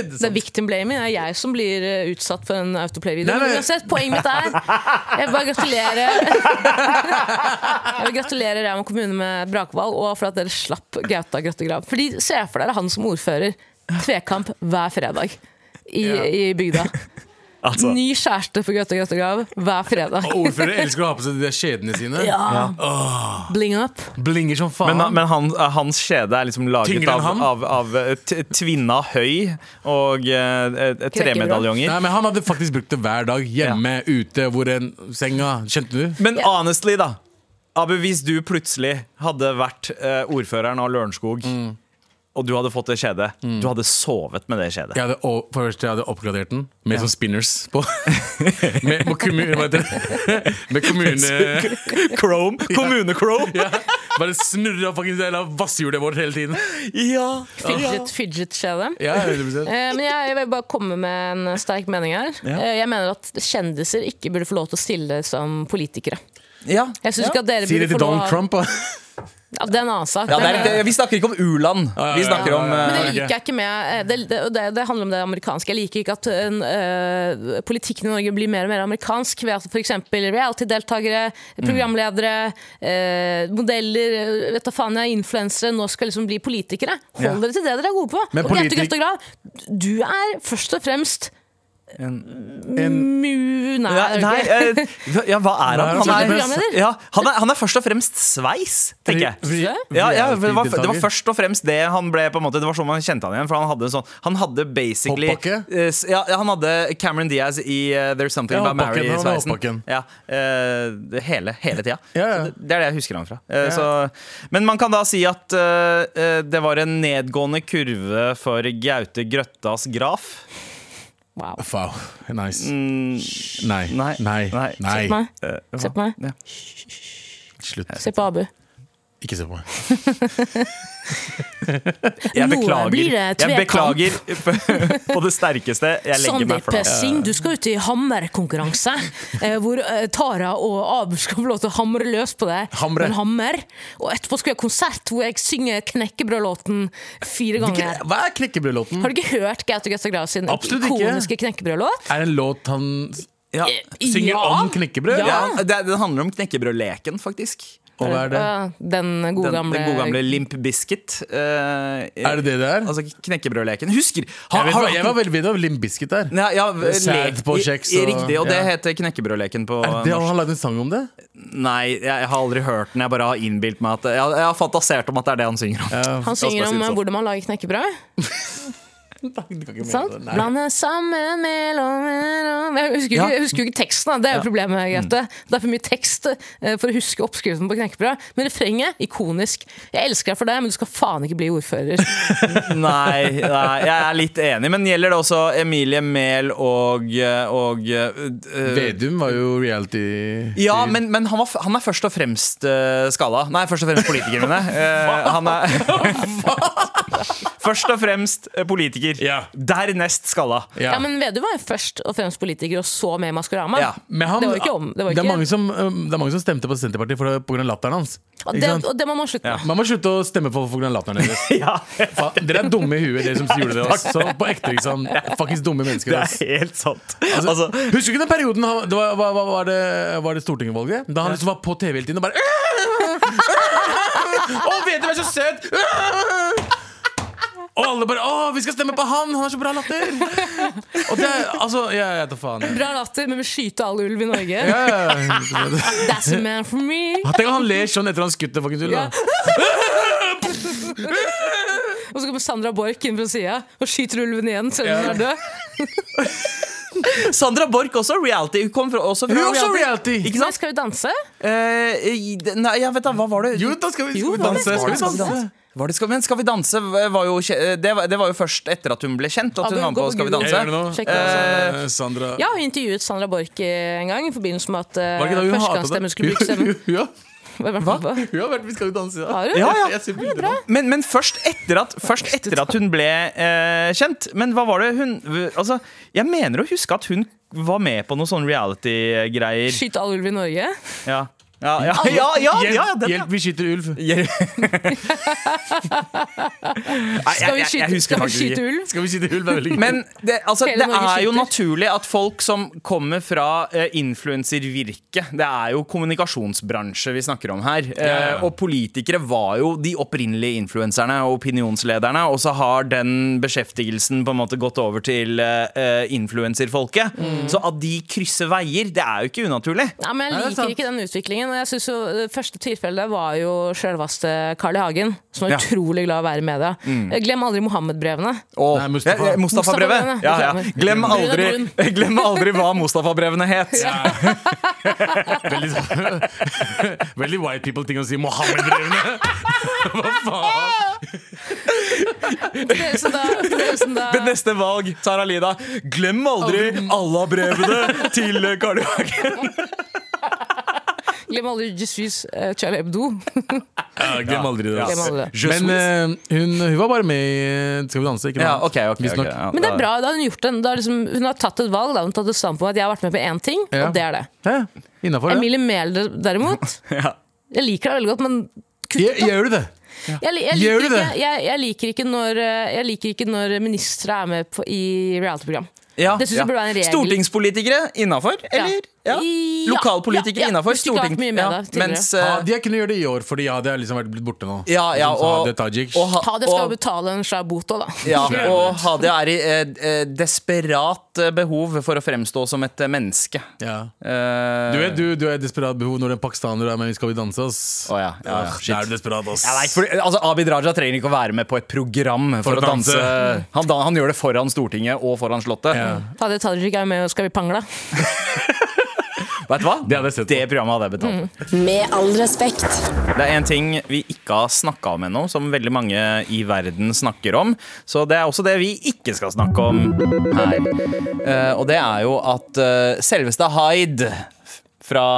[SPEAKER 3] Det er victim blaming. Det er jeg som blir eh, utsatt for en autoplay-video.
[SPEAKER 4] Nei, nei.
[SPEAKER 3] Men Uansett, poenget mitt er Jeg vil bare gratulere Jeg vil gratulere Rauma kommune med brakvalg, og for at dere slapp Gauta Grøttegrav. Fordi se for dere han som ordfører. Tvekamp hver fredag i, i bygda.
[SPEAKER 2] Altså.
[SPEAKER 3] Ny kjæreste for Gaute Grøttegrav hver fredag.
[SPEAKER 4] Og ordførere elsker å ha på seg de der kjedene sine.
[SPEAKER 3] Ja. Bling up.
[SPEAKER 4] Blinger som faen.
[SPEAKER 2] Men, men han, hans skjede er liksom laget
[SPEAKER 4] Tyngre enn
[SPEAKER 2] av,
[SPEAKER 4] han?
[SPEAKER 2] av, av eh, t- tvinna høy og eh, eh, tremedaljonger.
[SPEAKER 4] Nei, men Han hadde faktisk brukt det hver dag. Hjemme, ute, hvor enn. Senga. Skjønte du?
[SPEAKER 2] Men honestly, da. Abu, hvis du plutselig hadde vært eh, ordføreren av Lørenskog, og du hadde fått det skjedet, du hadde sovet med det skjedet.
[SPEAKER 4] Jeg hadde, å- for det første, jeg hadde oppgradert den med sånn spinners på. med, på kommun, hva heter det? med kommune...
[SPEAKER 2] Chrome, Kommune-Chrome!
[SPEAKER 4] Ja. Bare snurra fuckings hele vasshjulet vårt hele tiden.
[SPEAKER 2] Ja.
[SPEAKER 3] Fidget, fidget skjede.
[SPEAKER 4] Ja, 100%.
[SPEAKER 3] Eh, Men jeg vil bare komme med en sterk mening her.
[SPEAKER 2] Ja.
[SPEAKER 3] Eh, Jeg mener at kjendiser ikke burde få lov til å stille som politikere.
[SPEAKER 2] Ja.
[SPEAKER 3] Jeg synes ikke at dere
[SPEAKER 4] Si det
[SPEAKER 3] burde
[SPEAKER 4] til
[SPEAKER 3] få lov
[SPEAKER 4] Donald Trump. da.
[SPEAKER 3] Ja, det er en annen sak.
[SPEAKER 2] Ja, det er, det, vi snakker ikke om u-land.
[SPEAKER 4] ja,
[SPEAKER 2] Vi snakker om
[SPEAKER 4] ja, ja,
[SPEAKER 3] Men
[SPEAKER 2] eh,
[SPEAKER 3] det liker jeg ikke med eh, Det, det, og det, det handler om det amerikanske. Jeg liker ikke at en, eh, politikken i Norge blir mer og mer amerikansk ved at f.eks. reality-deltakere, programledere, eh, modeller, eh, vet da faen jeg, influensere nå skal liksom bli politikere. Hold
[SPEAKER 2] Ja.
[SPEAKER 3] dere til det dere er gode på.
[SPEAKER 4] Men
[SPEAKER 3] og Grete
[SPEAKER 4] politik-
[SPEAKER 3] Grøttegrav, du er først og fremst
[SPEAKER 4] En-
[SPEAKER 3] mu... Nei,
[SPEAKER 2] ja,
[SPEAKER 3] det er du
[SPEAKER 2] nei,
[SPEAKER 3] ikke.
[SPEAKER 2] eh, ja, hva er han?
[SPEAKER 4] Hva er han?
[SPEAKER 2] Han er,
[SPEAKER 3] Programleder?
[SPEAKER 2] ja, han, er, han er først og fremst sveis, tenker jeg.
[SPEAKER 4] Vri-
[SPEAKER 3] Ja,
[SPEAKER 4] vri-
[SPEAKER 2] Ja, ja, det, var, det var
[SPEAKER 4] deltaker.
[SPEAKER 2] først og fremst det han ble på en måte Det var sånn man kjente han igjen. For han hadde sånn Han hadde basically
[SPEAKER 4] Hoppbakke?
[SPEAKER 2] eh, s- ja, ja, han hadde Cameron Diaz i eh, There's Something
[SPEAKER 4] Ja,
[SPEAKER 2] About
[SPEAKER 4] hoppbakken,
[SPEAKER 2] Mary i
[SPEAKER 4] han hadde
[SPEAKER 2] sveisen.
[SPEAKER 4] hoppbakken.
[SPEAKER 2] Ja, eh, det hele, hele tida.
[SPEAKER 4] Ja, ja.
[SPEAKER 2] Så det, det er det jeg husker han fra. Eh, så, men man kan da si at eh, eh, det var en nedgående kurve for Gaute Grøttas graf.
[SPEAKER 3] Wow.
[SPEAKER 4] Wow, nice. Nei.
[SPEAKER 2] Mm. Nei.
[SPEAKER 4] Nei. Nei.
[SPEAKER 2] Nei.
[SPEAKER 3] Se på meg.
[SPEAKER 2] Eh, hva?
[SPEAKER 3] Se på meg.
[SPEAKER 2] Ja.
[SPEAKER 4] Slutt.
[SPEAKER 3] Se på Abu.
[SPEAKER 4] Ikke se på meg.
[SPEAKER 2] Jeg
[SPEAKER 3] Nå
[SPEAKER 2] beklager.
[SPEAKER 3] blir det
[SPEAKER 2] jeg
[SPEAKER 3] tvekamp.
[SPEAKER 2] beklager på, på det sterkeste. Jeg legger meg flat.
[SPEAKER 3] Sandeep-pressing. Du skal ut i hammerkonkurranse, eh, hvor eh, Tara og Abu skal få lov til å hamre løs på deg.
[SPEAKER 4] Hamre.
[SPEAKER 3] med en hammer. Og etterpå skal vi ha konsert hvor jeg synger knekkebrødlåten fire ganger.
[SPEAKER 4] Hva er knekkebrødlåten?
[SPEAKER 3] Har du ikke hørt Gaute Grøtta Grav sin
[SPEAKER 4] Absolutt ikke.
[SPEAKER 3] ikoniske knekkebrødlåt?
[SPEAKER 4] Er det en låt han
[SPEAKER 2] Ja.
[SPEAKER 4] synger
[SPEAKER 3] Ja.
[SPEAKER 4] om knekkebrød?
[SPEAKER 2] Ja, det, det handler om knekkebrødleken, faktisk.
[SPEAKER 4] Og hva er det?
[SPEAKER 3] Eh, Den gode
[SPEAKER 2] Den,
[SPEAKER 3] gamle,
[SPEAKER 2] den gode gamle Limp Biscuit.
[SPEAKER 4] Er det det det er?
[SPEAKER 2] Altså knekkebrødleken. Husker!
[SPEAKER 4] Jeg, vet, hva- jeg var veldig vidt av Lim Biscuit der.
[SPEAKER 2] ja, ja,
[SPEAKER 4] Sad
[SPEAKER 2] lek-
[SPEAKER 4] på kjeks
[SPEAKER 2] i- i
[SPEAKER 4] og-
[SPEAKER 2] Riktig, og det
[SPEAKER 4] ja.
[SPEAKER 2] heter knekkebrødleken på
[SPEAKER 4] Er det, han
[SPEAKER 2] norsk.
[SPEAKER 4] har lagd en sang om det?
[SPEAKER 2] Nei, jeg, jeg har aldri hørt den. Jeg bare har innbilt meg at jeg, jeg har fantasert om at det er det han synger om.
[SPEAKER 3] Han synger om eh,
[SPEAKER 2] sånn?
[SPEAKER 3] hvordan man lager knekkebrød. Sant?
[SPEAKER 4] sånn,
[SPEAKER 3] Blande sammen mellom mellom- Jeg husker jo
[SPEAKER 2] Ja.
[SPEAKER 3] ikke, jeg husker jo ikke teksten, da. det er jo problemet. Grete. Det er for mye tekst eh, for å huske oppskriften på knekkebrød. Men refrenget ikonisk. Jeg elsker deg for det, men du skal faen ikke bli ordfører.
[SPEAKER 2] Nei, nei, jeg er litt enig, men gjelder det også Emilie Mehl og, eh, og øh,
[SPEAKER 4] Vedum var jo reality
[SPEAKER 2] Ja, men, men han, var, f- han er først og fremst eh, skala. Nei, først og fremst politiker, mener jeg. Eh, han er Først og fremst eh, politiker.
[SPEAKER 4] Ja.
[SPEAKER 2] Dernest skala.
[SPEAKER 3] Ja, Men Vedum var jo først og fremst politiker, og så med i Maskorama.
[SPEAKER 2] Ja,
[SPEAKER 4] Men han-
[SPEAKER 3] det var jo ikke om. Det var
[SPEAKER 4] det,
[SPEAKER 3] ikke,
[SPEAKER 4] er mange som, um, det er mange som stemte på Senterpartiet for- pga. latteren hans.
[SPEAKER 3] og,
[SPEAKER 4] Ikke
[SPEAKER 3] det,
[SPEAKER 4] sant?
[SPEAKER 3] og det må man slutte med.
[SPEAKER 4] Man må slutte å stemme på pga. latteren deres.
[SPEAKER 2] Ja,
[SPEAKER 4] Faen, Dere er dumme i huet, dere som gjorde det. ass. Så på ekte, ikke sant? Faktisk dumme
[SPEAKER 2] det
[SPEAKER 4] mennesker. ass.
[SPEAKER 2] er helt sant.
[SPEAKER 4] Altså,
[SPEAKER 2] Altså,
[SPEAKER 4] husker du ikke den perioden han, det var, var, var, var, det, var det Stortinget-valget? Da han liksom var på TV hele tiden og bare Å, vet du hvem er så søt! Og alle bare Å, vi skal stemme på han! Han har så bra latter! Og det er Altså, jeg vet da faen. jeg.
[SPEAKER 3] Bra latter, men vi skyter all ulv i Norge.
[SPEAKER 4] Ja, ja, ja.
[SPEAKER 3] That's a man for me.
[SPEAKER 4] Tenk om han ler sånn etter han skutt det fuckings
[SPEAKER 3] Ja.
[SPEAKER 4] hullet.
[SPEAKER 3] Og så kommer Sandra Borch inn fra sida og skyter ulven igjen selv om
[SPEAKER 4] Ja.
[SPEAKER 3] den er død.
[SPEAKER 2] Sandra Borch også. Reality. Hun kom fra, også fra
[SPEAKER 4] Hun er også reality!
[SPEAKER 2] Ikke
[SPEAKER 3] Men
[SPEAKER 2] sant?
[SPEAKER 3] skal vi danse?
[SPEAKER 2] Eh, i- det- nei, jeg vet da, hva var det?
[SPEAKER 4] Jo, da skal vi,
[SPEAKER 3] Jo,
[SPEAKER 4] skal vi
[SPEAKER 3] da,
[SPEAKER 4] danse.
[SPEAKER 3] det
[SPEAKER 4] Skal vi danse?
[SPEAKER 2] Var det skal, men Skal vi danse var jo, kje- eh, det, var, det var jo først etter at hun ble kjent. At
[SPEAKER 3] Abu,
[SPEAKER 2] hun var
[SPEAKER 3] gå
[SPEAKER 2] på
[SPEAKER 3] på
[SPEAKER 2] Skal vi
[SPEAKER 3] Google.
[SPEAKER 4] Jeg gjør det
[SPEAKER 2] danse
[SPEAKER 4] nå.
[SPEAKER 3] Sjekk det også.
[SPEAKER 4] Eh, Sandra
[SPEAKER 3] Jeg har intervjuet Sandra Borch eh, en gang i forbindelse med at
[SPEAKER 4] Var det
[SPEAKER 3] eh,
[SPEAKER 4] ikke da hun hatet
[SPEAKER 3] førstegangsstemmen skulle sånn. bruke stemmen.
[SPEAKER 4] Jo, jo, jo.
[SPEAKER 3] Hva?
[SPEAKER 4] Hun har vært Vi skal jo danse.
[SPEAKER 3] Har du?
[SPEAKER 2] Ja, ja.
[SPEAKER 4] Jeg ser bilder av
[SPEAKER 2] Men, men først, etter at, først etter at hun ble eh, kjent. Men hva var det hun altså, Jeg mener å huske at hun var med på noen sånne reality-greier.
[SPEAKER 3] Skyt all ulv i Norge.
[SPEAKER 2] Ja. Ja, ja, ja, ja, ja,
[SPEAKER 4] Hjelp,
[SPEAKER 2] den, ja.
[SPEAKER 4] hjelp vi skyter ulv.
[SPEAKER 2] Nei, jeg,
[SPEAKER 3] Skal vi
[SPEAKER 2] jeg, jeg
[SPEAKER 3] skyte-
[SPEAKER 2] husker
[SPEAKER 3] skal vi
[SPEAKER 2] faktisk ikke.
[SPEAKER 3] skyte ulv?
[SPEAKER 4] Skal vi skyte ulv? Det er veldig gøy.
[SPEAKER 2] Men det, altså,
[SPEAKER 3] Hele
[SPEAKER 2] det
[SPEAKER 3] Norge
[SPEAKER 2] er jo
[SPEAKER 3] skyter.
[SPEAKER 2] naturlig at folk som kommer fra eh, influenservirket Det er jo kommunikasjonsbransje vi snakker om her. Eh,
[SPEAKER 4] Ja, ja.
[SPEAKER 2] og politikere var jo de opprinnelige influenserne og opinionslederne. Og så har den beskjeftigelsen på en måte gått over til eh, eh, influenserfolket.
[SPEAKER 4] Mm.
[SPEAKER 2] Så at de krysser veier, det er jo ikke unaturlig.
[SPEAKER 3] Nei, men
[SPEAKER 4] Nei, det
[SPEAKER 3] Jeg
[SPEAKER 4] er
[SPEAKER 3] liker
[SPEAKER 4] sant.
[SPEAKER 3] ikke den utviklingen. og jeg synes jo Det første tilfellet var jo sjølveste Carl I. Hagen, som var
[SPEAKER 2] Ja.
[SPEAKER 3] utrolig glad i å være i media.
[SPEAKER 4] Mm.
[SPEAKER 3] Eh, Glem aldri Mohammed-brevene.
[SPEAKER 2] Åh,
[SPEAKER 4] Nei, Mustafa.
[SPEAKER 2] eh, eh, Mustafa-brevet.
[SPEAKER 3] Mustafa-brevet,
[SPEAKER 2] ja, ja.
[SPEAKER 3] beklager.
[SPEAKER 2] Glem, aldri,
[SPEAKER 3] Brun
[SPEAKER 2] glem aldri hva Mustafa-brevene het.
[SPEAKER 4] Veldig, sånn- veldig white people-ting å si. Mohammed-drevne! Hva faen?
[SPEAKER 3] Det er som da, det er som da,
[SPEAKER 2] Ved neste valg, Tara Lida, glem aldri Allah-brevene til Karl Johan.
[SPEAKER 3] glem aldri Jesus eh, Charlie Hebdo.
[SPEAKER 4] Ja, glem aldri det.
[SPEAKER 3] Glem
[SPEAKER 4] ass.
[SPEAKER 3] aldri det.
[SPEAKER 2] Jesus.
[SPEAKER 4] Men eh, hun, hun var bare med i eh, Skal vi danse, ikke noe
[SPEAKER 2] Ja,
[SPEAKER 4] annet.
[SPEAKER 2] ok, ok,
[SPEAKER 4] Visstnok.
[SPEAKER 2] ok, ja,
[SPEAKER 3] Men det er bra, da har hun gjort den. Da har liksom, hun har tatt et valg, da har hun tatt et standpunkt at jeg har vært med på én ting,
[SPEAKER 4] Ja.
[SPEAKER 3] og det er det.
[SPEAKER 4] Ja, Innafor, ja.
[SPEAKER 3] Emilie Mehl derimot,
[SPEAKER 2] Ja.
[SPEAKER 3] jeg liker henne veldig godt, men kutt
[SPEAKER 4] Gjør-
[SPEAKER 3] ut, da.
[SPEAKER 4] Gjør du det?
[SPEAKER 3] Jeg, li- jeg,
[SPEAKER 4] Gjør
[SPEAKER 3] liker
[SPEAKER 4] du
[SPEAKER 3] ikke,
[SPEAKER 4] det?
[SPEAKER 3] jeg, jeg liker ikke når, eh, jeg liker ikke når ministre er med på, i reality-program.
[SPEAKER 2] Ja,
[SPEAKER 3] Det synes jeg burde være en regel.
[SPEAKER 2] Stortingspolitikere innafor, eller? Ja.
[SPEAKER 3] I- ja,
[SPEAKER 2] Lokalpolitikere
[SPEAKER 3] ja, ja,
[SPEAKER 2] innafor.
[SPEAKER 3] hvis du ikke har vært mye med deg tidligere.
[SPEAKER 2] mens
[SPEAKER 4] Ja,
[SPEAKER 2] eh,
[SPEAKER 4] de har kunnet gjøre det i år, Fordi ja, det har liksom vært blitt borte nå.
[SPEAKER 2] ja, ja,
[SPEAKER 4] Som sa,
[SPEAKER 2] og,
[SPEAKER 4] det er Tajik.
[SPEAKER 2] og, ha-
[SPEAKER 3] Ha, det skal
[SPEAKER 2] og-
[SPEAKER 3] jo betale en svær bot òg, da.
[SPEAKER 2] ja, og Hadia er i eh, eh, desperat eh, behov for å fremstå som et eh, menneske.
[SPEAKER 4] ja.
[SPEAKER 2] Eh,
[SPEAKER 4] Du vet, du, du er i desperat behov når en pakistaner er med i Skal vi danse, ass.
[SPEAKER 2] Å ja, ja, shit.
[SPEAKER 4] Da er du desperat, ass.
[SPEAKER 2] Jeg vet, for, altså, Abid Raja trenger ikke å være med på et program for, å danse. Han, da, han gjør det foran Stortinget og foran Slottet.
[SPEAKER 4] Ja.
[SPEAKER 3] Hadia Tajik er med og skal vi pangle?
[SPEAKER 2] Vet du hva?
[SPEAKER 4] Det hadde jeg sett på. Mm.
[SPEAKER 2] programmet hadde jeg betalt for.
[SPEAKER 1] Med all respekt.
[SPEAKER 2] Det er en ting vi ikke har snakka om ennå, som veldig mange i verden snakker om. Så det er også det vi ikke skal snakke om her. Eh, og det er jo at eh, selveste Hyde fra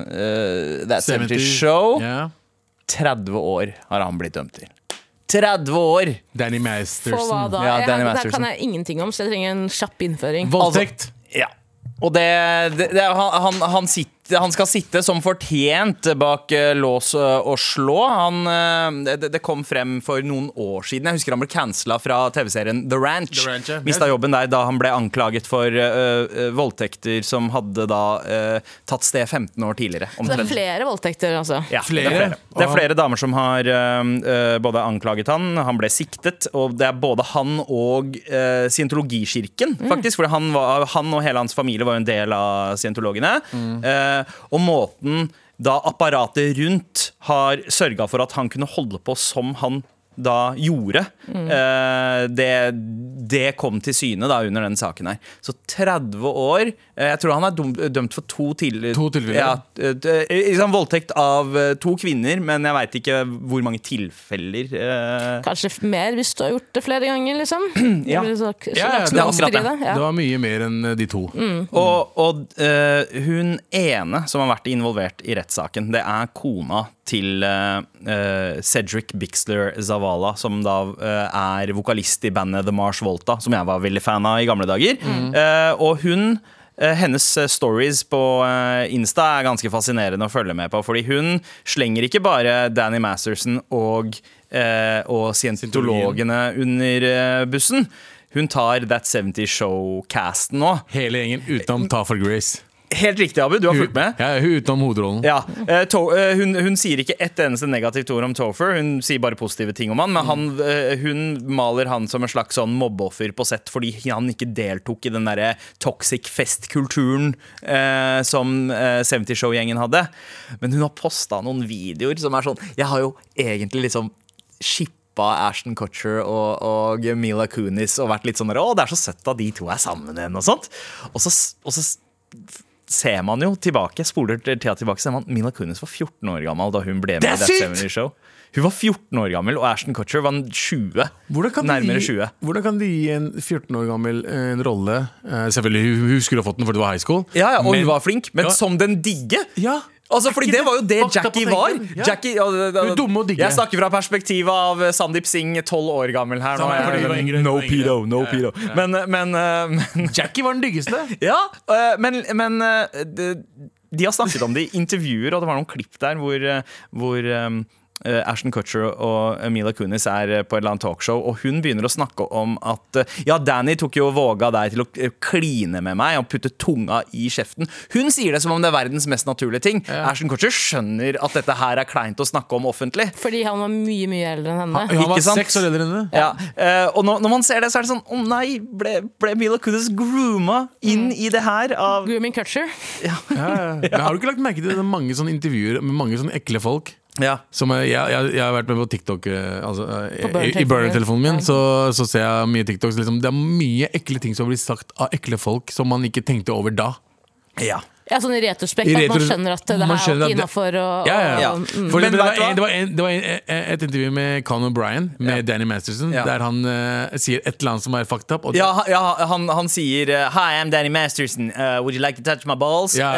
[SPEAKER 2] eh, That 70 Show
[SPEAKER 4] Ja.
[SPEAKER 2] 30 år har han blitt dømt til. 30 år!
[SPEAKER 4] Danny
[SPEAKER 3] For hva
[SPEAKER 4] Masterson.
[SPEAKER 3] da?
[SPEAKER 2] Ja,
[SPEAKER 3] jeg,
[SPEAKER 2] Danny
[SPEAKER 3] det her
[SPEAKER 2] Masterson.
[SPEAKER 3] kan jeg ingenting om, så jeg trenger en kjapp innføring.
[SPEAKER 4] Voldtekt.
[SPEAKER 2] Altså, Ja. Og det, det, det han, han, han, sitter, han skal sitte som fortjent bak eh, lås eh, og slå. Han, eh, det, det kom frem for noen år siden. Jeg husker han ble cancela fra TV-serien The Ranch.
[SPEAKER 4] The Ranch, ja.
[SPEAKER 2] Mista jobben der da han ble anklaget for eh, eh, voldtekter som hadde da eh, tatt sted 15 år tidligere.
[SPEAKER 3] Så det
[SPEAKER 2] omtrent.
[SPEAKER 3] er flere voldtekter, altså.
[SPEAKER 2] Ja,
[SPEAKER 4] Flere?
[SPEAKER 2] Det er flere, det er flere damer som har øhm, øh, både anklaget han, han ble siktet, og det er både han og øh, scientologikirken,
[SPEAKER 4] Mm.
[SPEAKER 2] faktisk. For han, var- han og hele hans familie var jo en del av scientologene.
[SPEAKER 4] Mm.
[SPEAKER 2] Eh, og måten da apparatet rundt har sørga for at han kunne holde på som han da gjorde,
[SPEAKER 4] Mm.
[SPEAKER 2] eh, det, det kom til syne da under den saken her. Så 30 år eh, Jeg tror han er dom- dømt for to tidligere
[SPEAKER 4] To tilfeller.
[SPEAKER 2] Ja, Eh, det- eh, liksom Voldtekt av eh, to kvinner, men jeg veit ikke hvor mange tilfeller. eh.
[SPEAKER 3] Kanskje f- mer hvis du har gjort det flere ganger, liksom.
[SPEAKER 2] Ja.
[SPEAKER 3] Eller så- så
[SPEAKER 4] ja,
[SPEAKER 3] langt
[SPEAKER 4] det er
[SPEAKER 3] man
[SPEAKER 2] akkurat det.
[SPEAKER 3] skriver
[SPEAKER 4] Det
[SPEAKER 3] Ja. Mm.
[SPEAKER 4] var mye mer enn eh, de to.
[SPEAKER 2] Og, og eh, hun ene som har vært involvert i rettssaken, det er kona til eh, eh, Cedric Bixler Zavala, som da eh, er vokalist i bandet The Mars Volta, som jeg var veldig fan av i gamle dager. Eh, og hun eh, hennes eh, stories på eh, Insta er ganske fascinerende å følge med på. Fordi hun slenger ikke bare Danny Masterson og, eh, og scientologene under eh, bussen. Hun tar That 70 Show-casten nå.
[SPEAKER 4] Hele gjengen
[SPEAKER 3] Mm.
[SPEAKER 4] utenom Ta for Grace.
[SPEAKER 2] Helt riktig, Abu. Du har fulgt med.
[SPEAKER 4] Ja, hun utenom hovedrollen.
[SPEAKER 2] Ja, eh, to, eh, hun, hun sier ikke ett eneste negativt ord om Topher. Hun sier bare positive ting om han, men han, eh, hun maler han som en slags sånn mobbeoffer på sett fordi han ikke deltok i den derre toxic fest-kulturen eh, som eh, 70 Show-gjengen hadde. Men hun har posta noen videoer som er sånn Jeg har jo egentlig liksom shippa Ashton Kutcher og, og Mila Kunis og vært litt sånn der, Å, det er så søtt at de to er sammen igjen, og sånt. Og så, s- og så s- ser man jo tilbake, spoler til- tida tilbake, ser man Mila Kunis var 14 år gammel da hun ble med
[SPEAKER 4] Det er
[SPEAKER 2] i That
[SPEAKER 4] sykt!
[SPEAKER 2] 70 Show. Hun var 14 år gammel, og Ashton Kutcher var 20.
[SPEAKER 4] Hvordan kan,
[SPEAKER 2] Nærmere
[SPEAKER 4] de,
[SPEAKER 2] 20.
[SPEAKER 4] hvordan kan de gi en 14 år gammel eh, en rolle eh, Selvfølgelig, hun, hun skulle ha fått den fordi det var high school.
[SPEAKER 2] Ja, ja, og
[SPEAKER 4] Men-
[SPEAKER 2] hun var flink, men
[SPEAKER 4] Ja.
[SPEAKER 2] som den digge!
[SPEAKER 4] Ja.
[SPEAKER 2] Altså, fordi det var jo det
[SPEAKER 4] fakta på
[SPEAKER 2] Jackie var.
[SPEAKER 4] tenken? Ja.
[SPEAKER 2] Jackie, ja, det- det-
[SPEAKER 4] Hun er dum og digge.
[SPEAKER 2] Jeg snakker fra perspektivet av eh, Sandeep Singh, 12 år gammel her.
[SPEAKER 4] Samme, fordi hun var yngre, hun
[SPEAKER 2] no
[SPEAKER 4] var yngre.
[SPEAKER 2] pedo, no pedo. Men, men, eh, men eh,
[SPEAKER 4] Jackie var den diggeste.
[SPEAKER 2] Ja, øh, men, men øh, det, de har snakket om det i intervjuer, og det var noen klipp der hvor, eh, hvor eh, eh, Ashton Kutcher og Mila Kunis er eh, på et eller annet talkshow, og hun begynner å snakke om at eh, Ja, Danny tok jo og våga deg til å eh, kline med meg og putte tunga i kjeften. Hun sier det som om det er verdens mest naturlige ting. Ashton Kutcher skjønner at dette her er kleint å snakke om offentlig.
[SPEAKER 3] Fordi han var mye, mye eldre enn henne.
[SPEAKER 4] Han var
[SPEAKER 2] Ikke sant?
[SPEAKER 4] seks år eldre enn det.
[SPEAKER 2] Ja. eh, og når, når man ser det, så er det sånn Å nei, ble, ble Mila Kunis grooma inn i det her av
[SPEAKER 3] Grooming Cutcher.
[SPEAKER 4] Ja, ja. Men har du ikke lagt merke til det? Det er mange sånne intervjuer med mange sånne ekle folk?
[SPEAKER 2] Ja.
[SPEAKER 4] Som jeg, jeg, jeg, jeg har vært med på TikTok eh, altså, eh,
[SPEAKER 3] På
[SPEAKER 4] i, i
[SPEAKER 3] burner-telefonen.
[SPEAKER 4] burner-telefonen min.
[SPEAKER 3] Ja.
[SPEAKER 4] Så, så ser jeg mye TikTok. Så liksom, det er mye ekle ting som blir sagt av ekle folk som man ikke tenkte over da.
[SPEAKER 2] ja.
[SPEAKER 3] Ja, sånn i retrospekt,
[SPEAKER 4] I
[SPEAKER 3] at man
[SPEAKER 4] retro-
[SPEAKER 3] skjønner at det
[SPEAKER 4] man
[SPEAKER 3] her er
[SPEAKER 4] skjønner at
[SPEAKER 3] ikke
[SPEAKER 4] det-
[SPEAKER 3] innafor.
[SPEAKER 4] Ja, ja, ja.
[SPEAKER 2] Ja. Mm.
[SPEAKER 4] For
[SPEAKER 2] Men
[SPEAKER 4] det, var
[SPEAKER 2] vet du hva?
[SPEAKER 4] en, det var, en, det var en, eh, et intervju med Conan O'Brien med Danny Masterson,
[SPEAKER 2] Ja.
[SPEAKER 4] der han eh, sier et eller annet som er fucked up. Og
[SPEAKER 2] Ja, ha- ja han, han sier eh, Hi, I'm Danny Masterson. Eh, would you like to touch my balls?
[SPEAKER 4] Ja.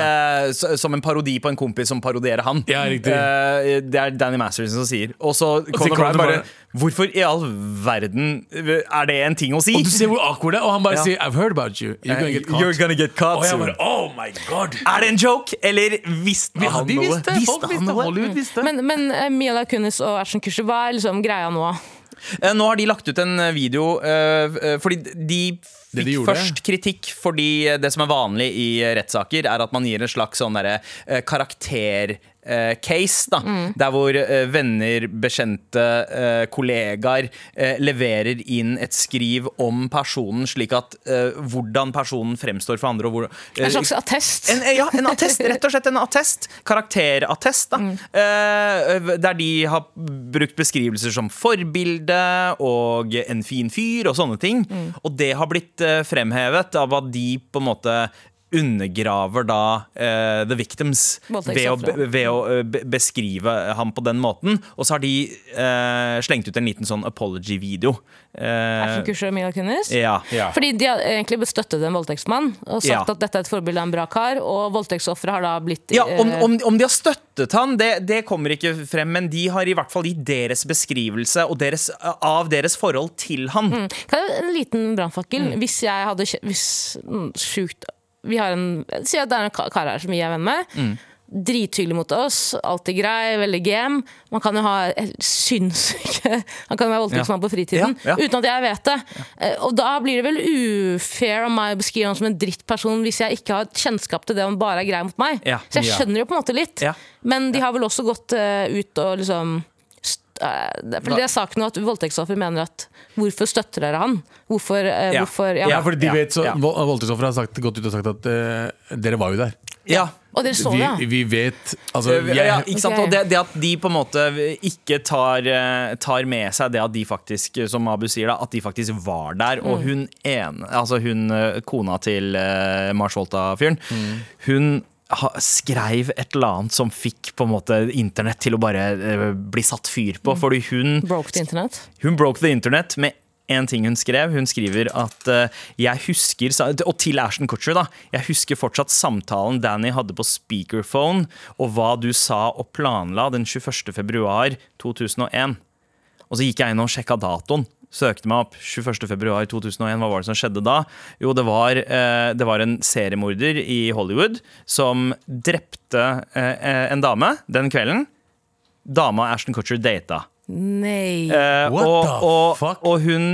[SPEAKER 2] Eh, s- som en parodi på en kompis som parodierer han.
[SPEAKER 4] Ja, riktig.
[SPEAKER 2] Eh, det er Danny Masterson som sier. Og så
[SPEAKER 4] sier
[SPEAKER 2] Conor Bryan
[SPEAKER 4] Conor
[SPEAKER 2] bare
[SPEAKER 4] bare,
[SPEAKER 2] Hvorfor i all verden eh, er det en ting å si?
[SPEAKER 4] Og du ser hvor awkward det er, og han bare
[SPEAKER 2] Ja. Eh,
[SPEAKER 4] sier I've heard about you. You're gonna get caught.
[SPEAKER 2] You're gonna get caught
[SPEAKER 4] og jeg
[SPEAKER 2] soon.
[SPEAKER 4] bare, oh my god
[SPEAKER 2] Er det en joke, eller visste
[SPEAKER 4] Ja,
[SPEAKER 2] han
[SPEAKER 4] de
[SPEAKER 2] noe?
[SPEAKER 4] visste, folk
[SPEAKER 2] han
[SPEAKER 4] visste,
[SPEAKER 2] noe? Mm.
[SPEAKER 4] Hollywood visste.
[SPEAKER 3] Men, men eh, Mila Kunis og Ashton Kutcher, hva er liksom greia nå?
[SPEAKER 2] Eh, Nå har de lagt ut en eh, video eh, eh, Fordi de
[SPEAKER 4] Det
[SPEAKER 2] fikk
[SPEAKER 4] de gjorde.
[SPEAKER 2] først kritikk Fordi eh, det som er vanlig i eh, rettssaker Er at man gir en slags sånn derre eh, karakter eh, Case da
[SPEAKER 3] Mm.
[SPEAKER 2] Der hvor eh, venner, bekjente, eh, kollegaer eh, Leverer inn et skriv om personen Slik at eh, hvordan personen fremstår for andre og hvor, eh,
[SPEAKER 3] En slags attest?
[SPEAKER 2] en, ja, en attest, rett og slett en attest. Karakterattest,
[SPEAKER 3] Mm.
[SPEAKER 2] da. Eh, der de har brukt beskrivelser som forbilde og en fin fyr og sånne ting.
[SPEAKER 3] Mm.
[SPEAKER 2] Og det har blitt eh, fremhevet av at de på en måte undergraver da eh, the victims ved å,
[SPEAKER 3] Voldtektsofre.
[SPEAKER 2] ved å eh, be- beskrive ham på den måten. Og så har de eh, slengt ut en liten sånn apology-video. Eh,
[SPEAKER 3] Ashton Kutcher og Mila Kunis?
[SPEAKER 2] ja.
[SPEAKER 4] Ja.
[SPEAKER 3] Fordi de har egentlig bestøttet en voldtektsmann og sagt
[SPEAKER 2] Ja.
[SPEAKER 3] at dette er et forbilde av en bra kar, og voldtektsofre har da blitt
[SPEAKER 2] Ja, om,
[SPEAKER 3] eh,
[SPEAKER 2] om, om de har støttet han, det, det kommer ikke frem, men de har i hvert fall gitt deres beskrivelse og deres, av deres forhold til han.
[SPEAKER 3] Kan jeg, en liten brannfakkel.
[SPEAKER 2] Mm.
[SPEAKER 3] Hvis jeg hadde kje- hvis, mm, Sjukt Vi har en Si at det er en ka- kar her som vi er venn med.
[SPEAKER 2] Mm.
[SPEAKER 3] Drithyggelig mot oss, alltid grei, veldig game. Man kan jo ha helt sinnssyke Han kan jo være voldtektsmann på fritiden
[SPEAKER 2] Ja, ja.
[SPEAKER 3] uten at jeg vet det. Eh, Og da blir det vel ufair av meg å beskrive ham som en drittperson hvis jeg ikke har kjennskap til det han bare er grei mot meg.
[SPEAKER 2] Ja.
[SPEAKER 3] Så jeg
[SPEAKER 4] Ja.
[SPEAKER 3] skjønner jo på en måte litt.
[SPEAKER 2] Ja.
[SPEAKER 3] Men de har vel også gått eh, ut og liksom st- eh, det- For det er saken nå at voldtektsofre mener at hvorfor støtter dere han? Hvorfor, eh,
[SPEAKER 2] Ja.
[SPEAKER 3] hvorfor ja.
[SPEAKER 4] Ja, fordi de
[SPEAKER 2] Ja,
[SPEAKER 4] vet så
[SPEAKER 2] ja.
[SPEAKER 4] vo- Voldtektsofre har sagt, gått ut og sagt at eh, dere var jo der.
[SPEAKER 2] Ja.
[SPEAKER 3] Og dere så det, ja.
[SPEAKER 4] Vi, vi vet Altså,
[SPEAKER 2] Eh, Ja,
[SPEAKER 4] jeg,
[SPEAKER 2] ikke sant?
[SPEAKER 3] Ok.
[SPEAKER 2] Og det, det at de på en måte ikke tar, eh, tar med seg det at de faktisk, som Abu sier, da, at de faktisk var der. Og
[SPEAKER 3] Mm.
[SPEAKER 2] hun ene, altså hun eh, kona til eh, Mars Volta-fyren, hun ha, skreiv et eller annet som fikk på en måte internett til å bare eh, bli satt fyr
[SPEAKER 3] Mm.
[SPEAKER 2] på. Fordi hun
[SPEAKER 3] Broke the internet.
[SPEAKER 2] Hun broke the internet med en ting hun skrev. Hun skriver at eh, jeg husker, sa- og til Ashton Kutcher da, jeg husker fortsatt samtalen Danny hadde på speakerphone, og hva du sa og planla den 21. februar 2001. Og så gikk jeg inn og sjekka datoen. Søkte meg opp 21.2.2001. Hva var det som skjedde da? Jo, det var, eh, det var en seriemorder i Hollywood som drepte eh, en dame den kvelden. Dama Ashton Kutcher data.
[SPEAKER 3] Nei.
[SPEAKER 2] Eh,
[SPEAKER 4] What
[SPEAKER 2] og,
[SPEAKER 4] the
[SPEAKER 2] og,
[SPEAKER 4] fuck?
[SPEAKER 2] Og hun,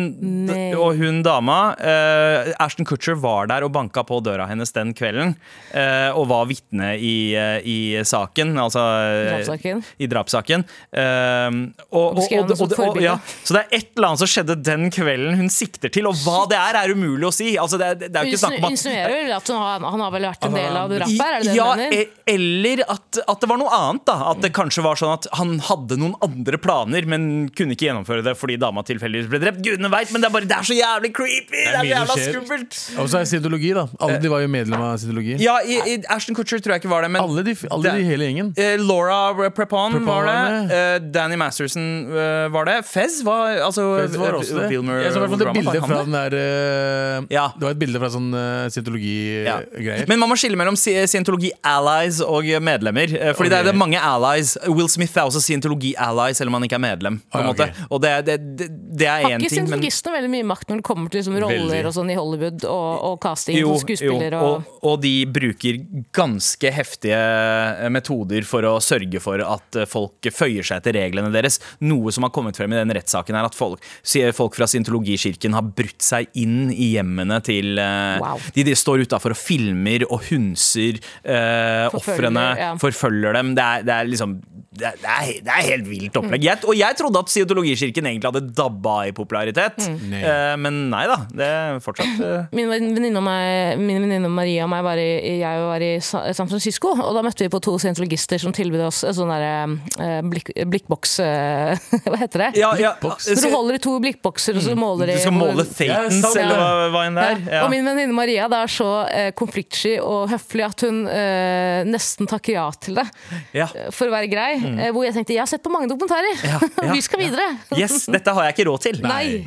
[SPEAKER 3] Nei.
[SPEAKER 2] og hun dama eh, Ashton Kutcher var der og banka på døra hennes den kvelden. eh, og var vitne i, eh, i saken, altså eh,
[SPEAKER 3] Drapssaken.
[SPEAKER 2] I drapssaken. Eh, og, og,
[SPEAKER 3] beskrev
[SPEAKER 2] og,
[SPEAKER 3] henne som
[SPEAKER 2] og, og,
[SPEAKER 3] forbilde.
[SPEAKER 2] ja, så det er et eller annet som skjedde den kvelden hun sikter til, og hva det er, er umulig å si. Altså, det, er- det er jo ikke snakk om
[SPEAKER 3] Insinuerer
[SPEAKER 2] at Ah,
[SPEAKER 3] insinuerer vel at hun har, han har vel vært en del av det rappet? Er det det
[SPEAKER 2] ja,
[SPEAKER 3] du mener?
[SPEAKER 2] e- eller at, at det var noe annet. da At det kanskje var sånn at han hadde noen andre planer, men kunne ikke gjennomføre det fordi dama tilfeldigvis ble drept. Gudene vet, men det er bare det er så jævlig creepy! Det er,
[SPEAKER 4] mye
[SPEAKER 2] jævla
[SPEAKER 4] som skjer.
[SPEAKER 2] skummelt!
[SPEAKER 4] Og så er scientologi, da. Alle de var jo medlem av scientologi.
[SPEAKER 2] Eh. Ja, i, i Ashton Kutcher tror jeg ikke var det, men
[SPEAKER 4] Alle, de, alle
[SPEAKER 2] Det-
[SPEAKER 4] de hele gjengen.
[SPEAKER 2] eh, Laura Prepon
[SPEAKER 4] Prepon
[SPEAKER 2] var det.
[SPEAKER 4] var
[SPEAKER 2] eh, Danny Masterson eh, var det. Fez var altså
[SPEAKER 4] Fez var også det.
[SPEAKER 2] Wilmer,
[SPEAKER 4] Jeg så i hvert fall det
[SPEAKER 2] Wilmer, var
[SPEAKER 4] bildet
[SPEAKER 2] han
[SPEAKER 4] fra
[SPEAKER 2] det?
[SPEAKER 4] den der eh,
[SPEAKER 2] Ja.
[SPEAKER 4] Det var et bilde fra sånn eh,
[SPEAKER 2] Ja.
[SPEAKER 4] scientologi-greier.
[SPEAKER 2] Men man må skille mellom sci- scientologi-allies og medlemmer. eh, Fordi det er-
[SPEAKER 4] Ok.
[SPEAKER 2] det er mange allies. Will Smith er også scientologi-allies, selv om han ikke er medlem. På en
[SPEAKER 4] Ah, ja,
[SPEAKER 2] måte.
[SPEAKER 4] ok.
[SPEAKER 2] Og det, er- det, det, det er én
[SPEAKER 3] Har ikke
[SPEAKER 2] ting, men
[SPEAKER 3] syntologistene veldig mye makt når det kommer til liksom,
[SPEAKER 2] Veldig.
[SPEAKER 3] roller og sånn i Hollywood og, og casting
[SPEAKER 2] jo,
[SPEAKER 3] og skuespillere?
[SPEAKER 2] jo,
[SPEAKER 3] Og,
[SPEAKER 2] og, og de bruker ganske heftige eh, metoder for å sørge for at eh, folk føyer seg etter reglene deres. Noe som har kommet frem i den rettssaken, er at folk, sier folk fra scientologikirken har brutt seg inn i hjemmene til eh,
[SPEAKER 3] Wow.
[SPEAKER 2] de, de står utafor og filmer og hunser eh, ofrene,
[SPEAKER 3] ja.
[SPEAKER 2] forfølger dem. Det er, det er liksom det er, det er- det er helt vilt
[SPEAKER 3] Mm.
[SPEAKER 2] opplegg. Jeg, og jeg trodde at scientologikirken egentlig hadde dabba i popularitet,
[SPEAKER 3] Mm.
[SPEAKER 4] Nei.
[SPEAKER 2] Eh, men nei da. Det er fortsatt eh,
[SPEAKER 3] min venninne og meg, min venninne Maria og meg var i, jeg var i Sa- San Francisco, og da møtte vi på to scientologister som tilbød oss en sånn derre eh, blikk, blikkboks eh, Hva heter det?
[SPEAKER 2] ja, ja,
[SPEAKER 4] Blikkboks.
[SPEAKER 3] Når
[SPEAKER 2] så- Mm.
[SPEAKER 3] du holder i to blikkbokser, og så måler de
[SPEAKER 2] Du skal
[SPEAKER 3] hvor-
[SPEAKER 2] måle fatens,
[SPEAKER 4] Ja, sant,
[SPEAKER 2] eller
[SPEAKER 4] ja.
[SPEAKER 2] hva, hva enn det er.
[SPEAKER 3] sånn, Ja.
[SPEAKER 2] Ja.
[SPEAKER 3] Og min venninne Maria det er så eh, konfliktsky og høflig at hun eh, nesten takker ja til det
[SPEAKER 2] Ja.
[SPEAKER 3] eh, for å være grei. Eh, hvor jeg tenkte jeg har sett på mange dokumentarer,
[SPEAKER 2] Ja, Mm. ja,
[SPEAKER 3] vi skal videre!
[SPEAKER 2] Yes, dette har jeg ikke råd til.
[SPEAKER 3] Nei.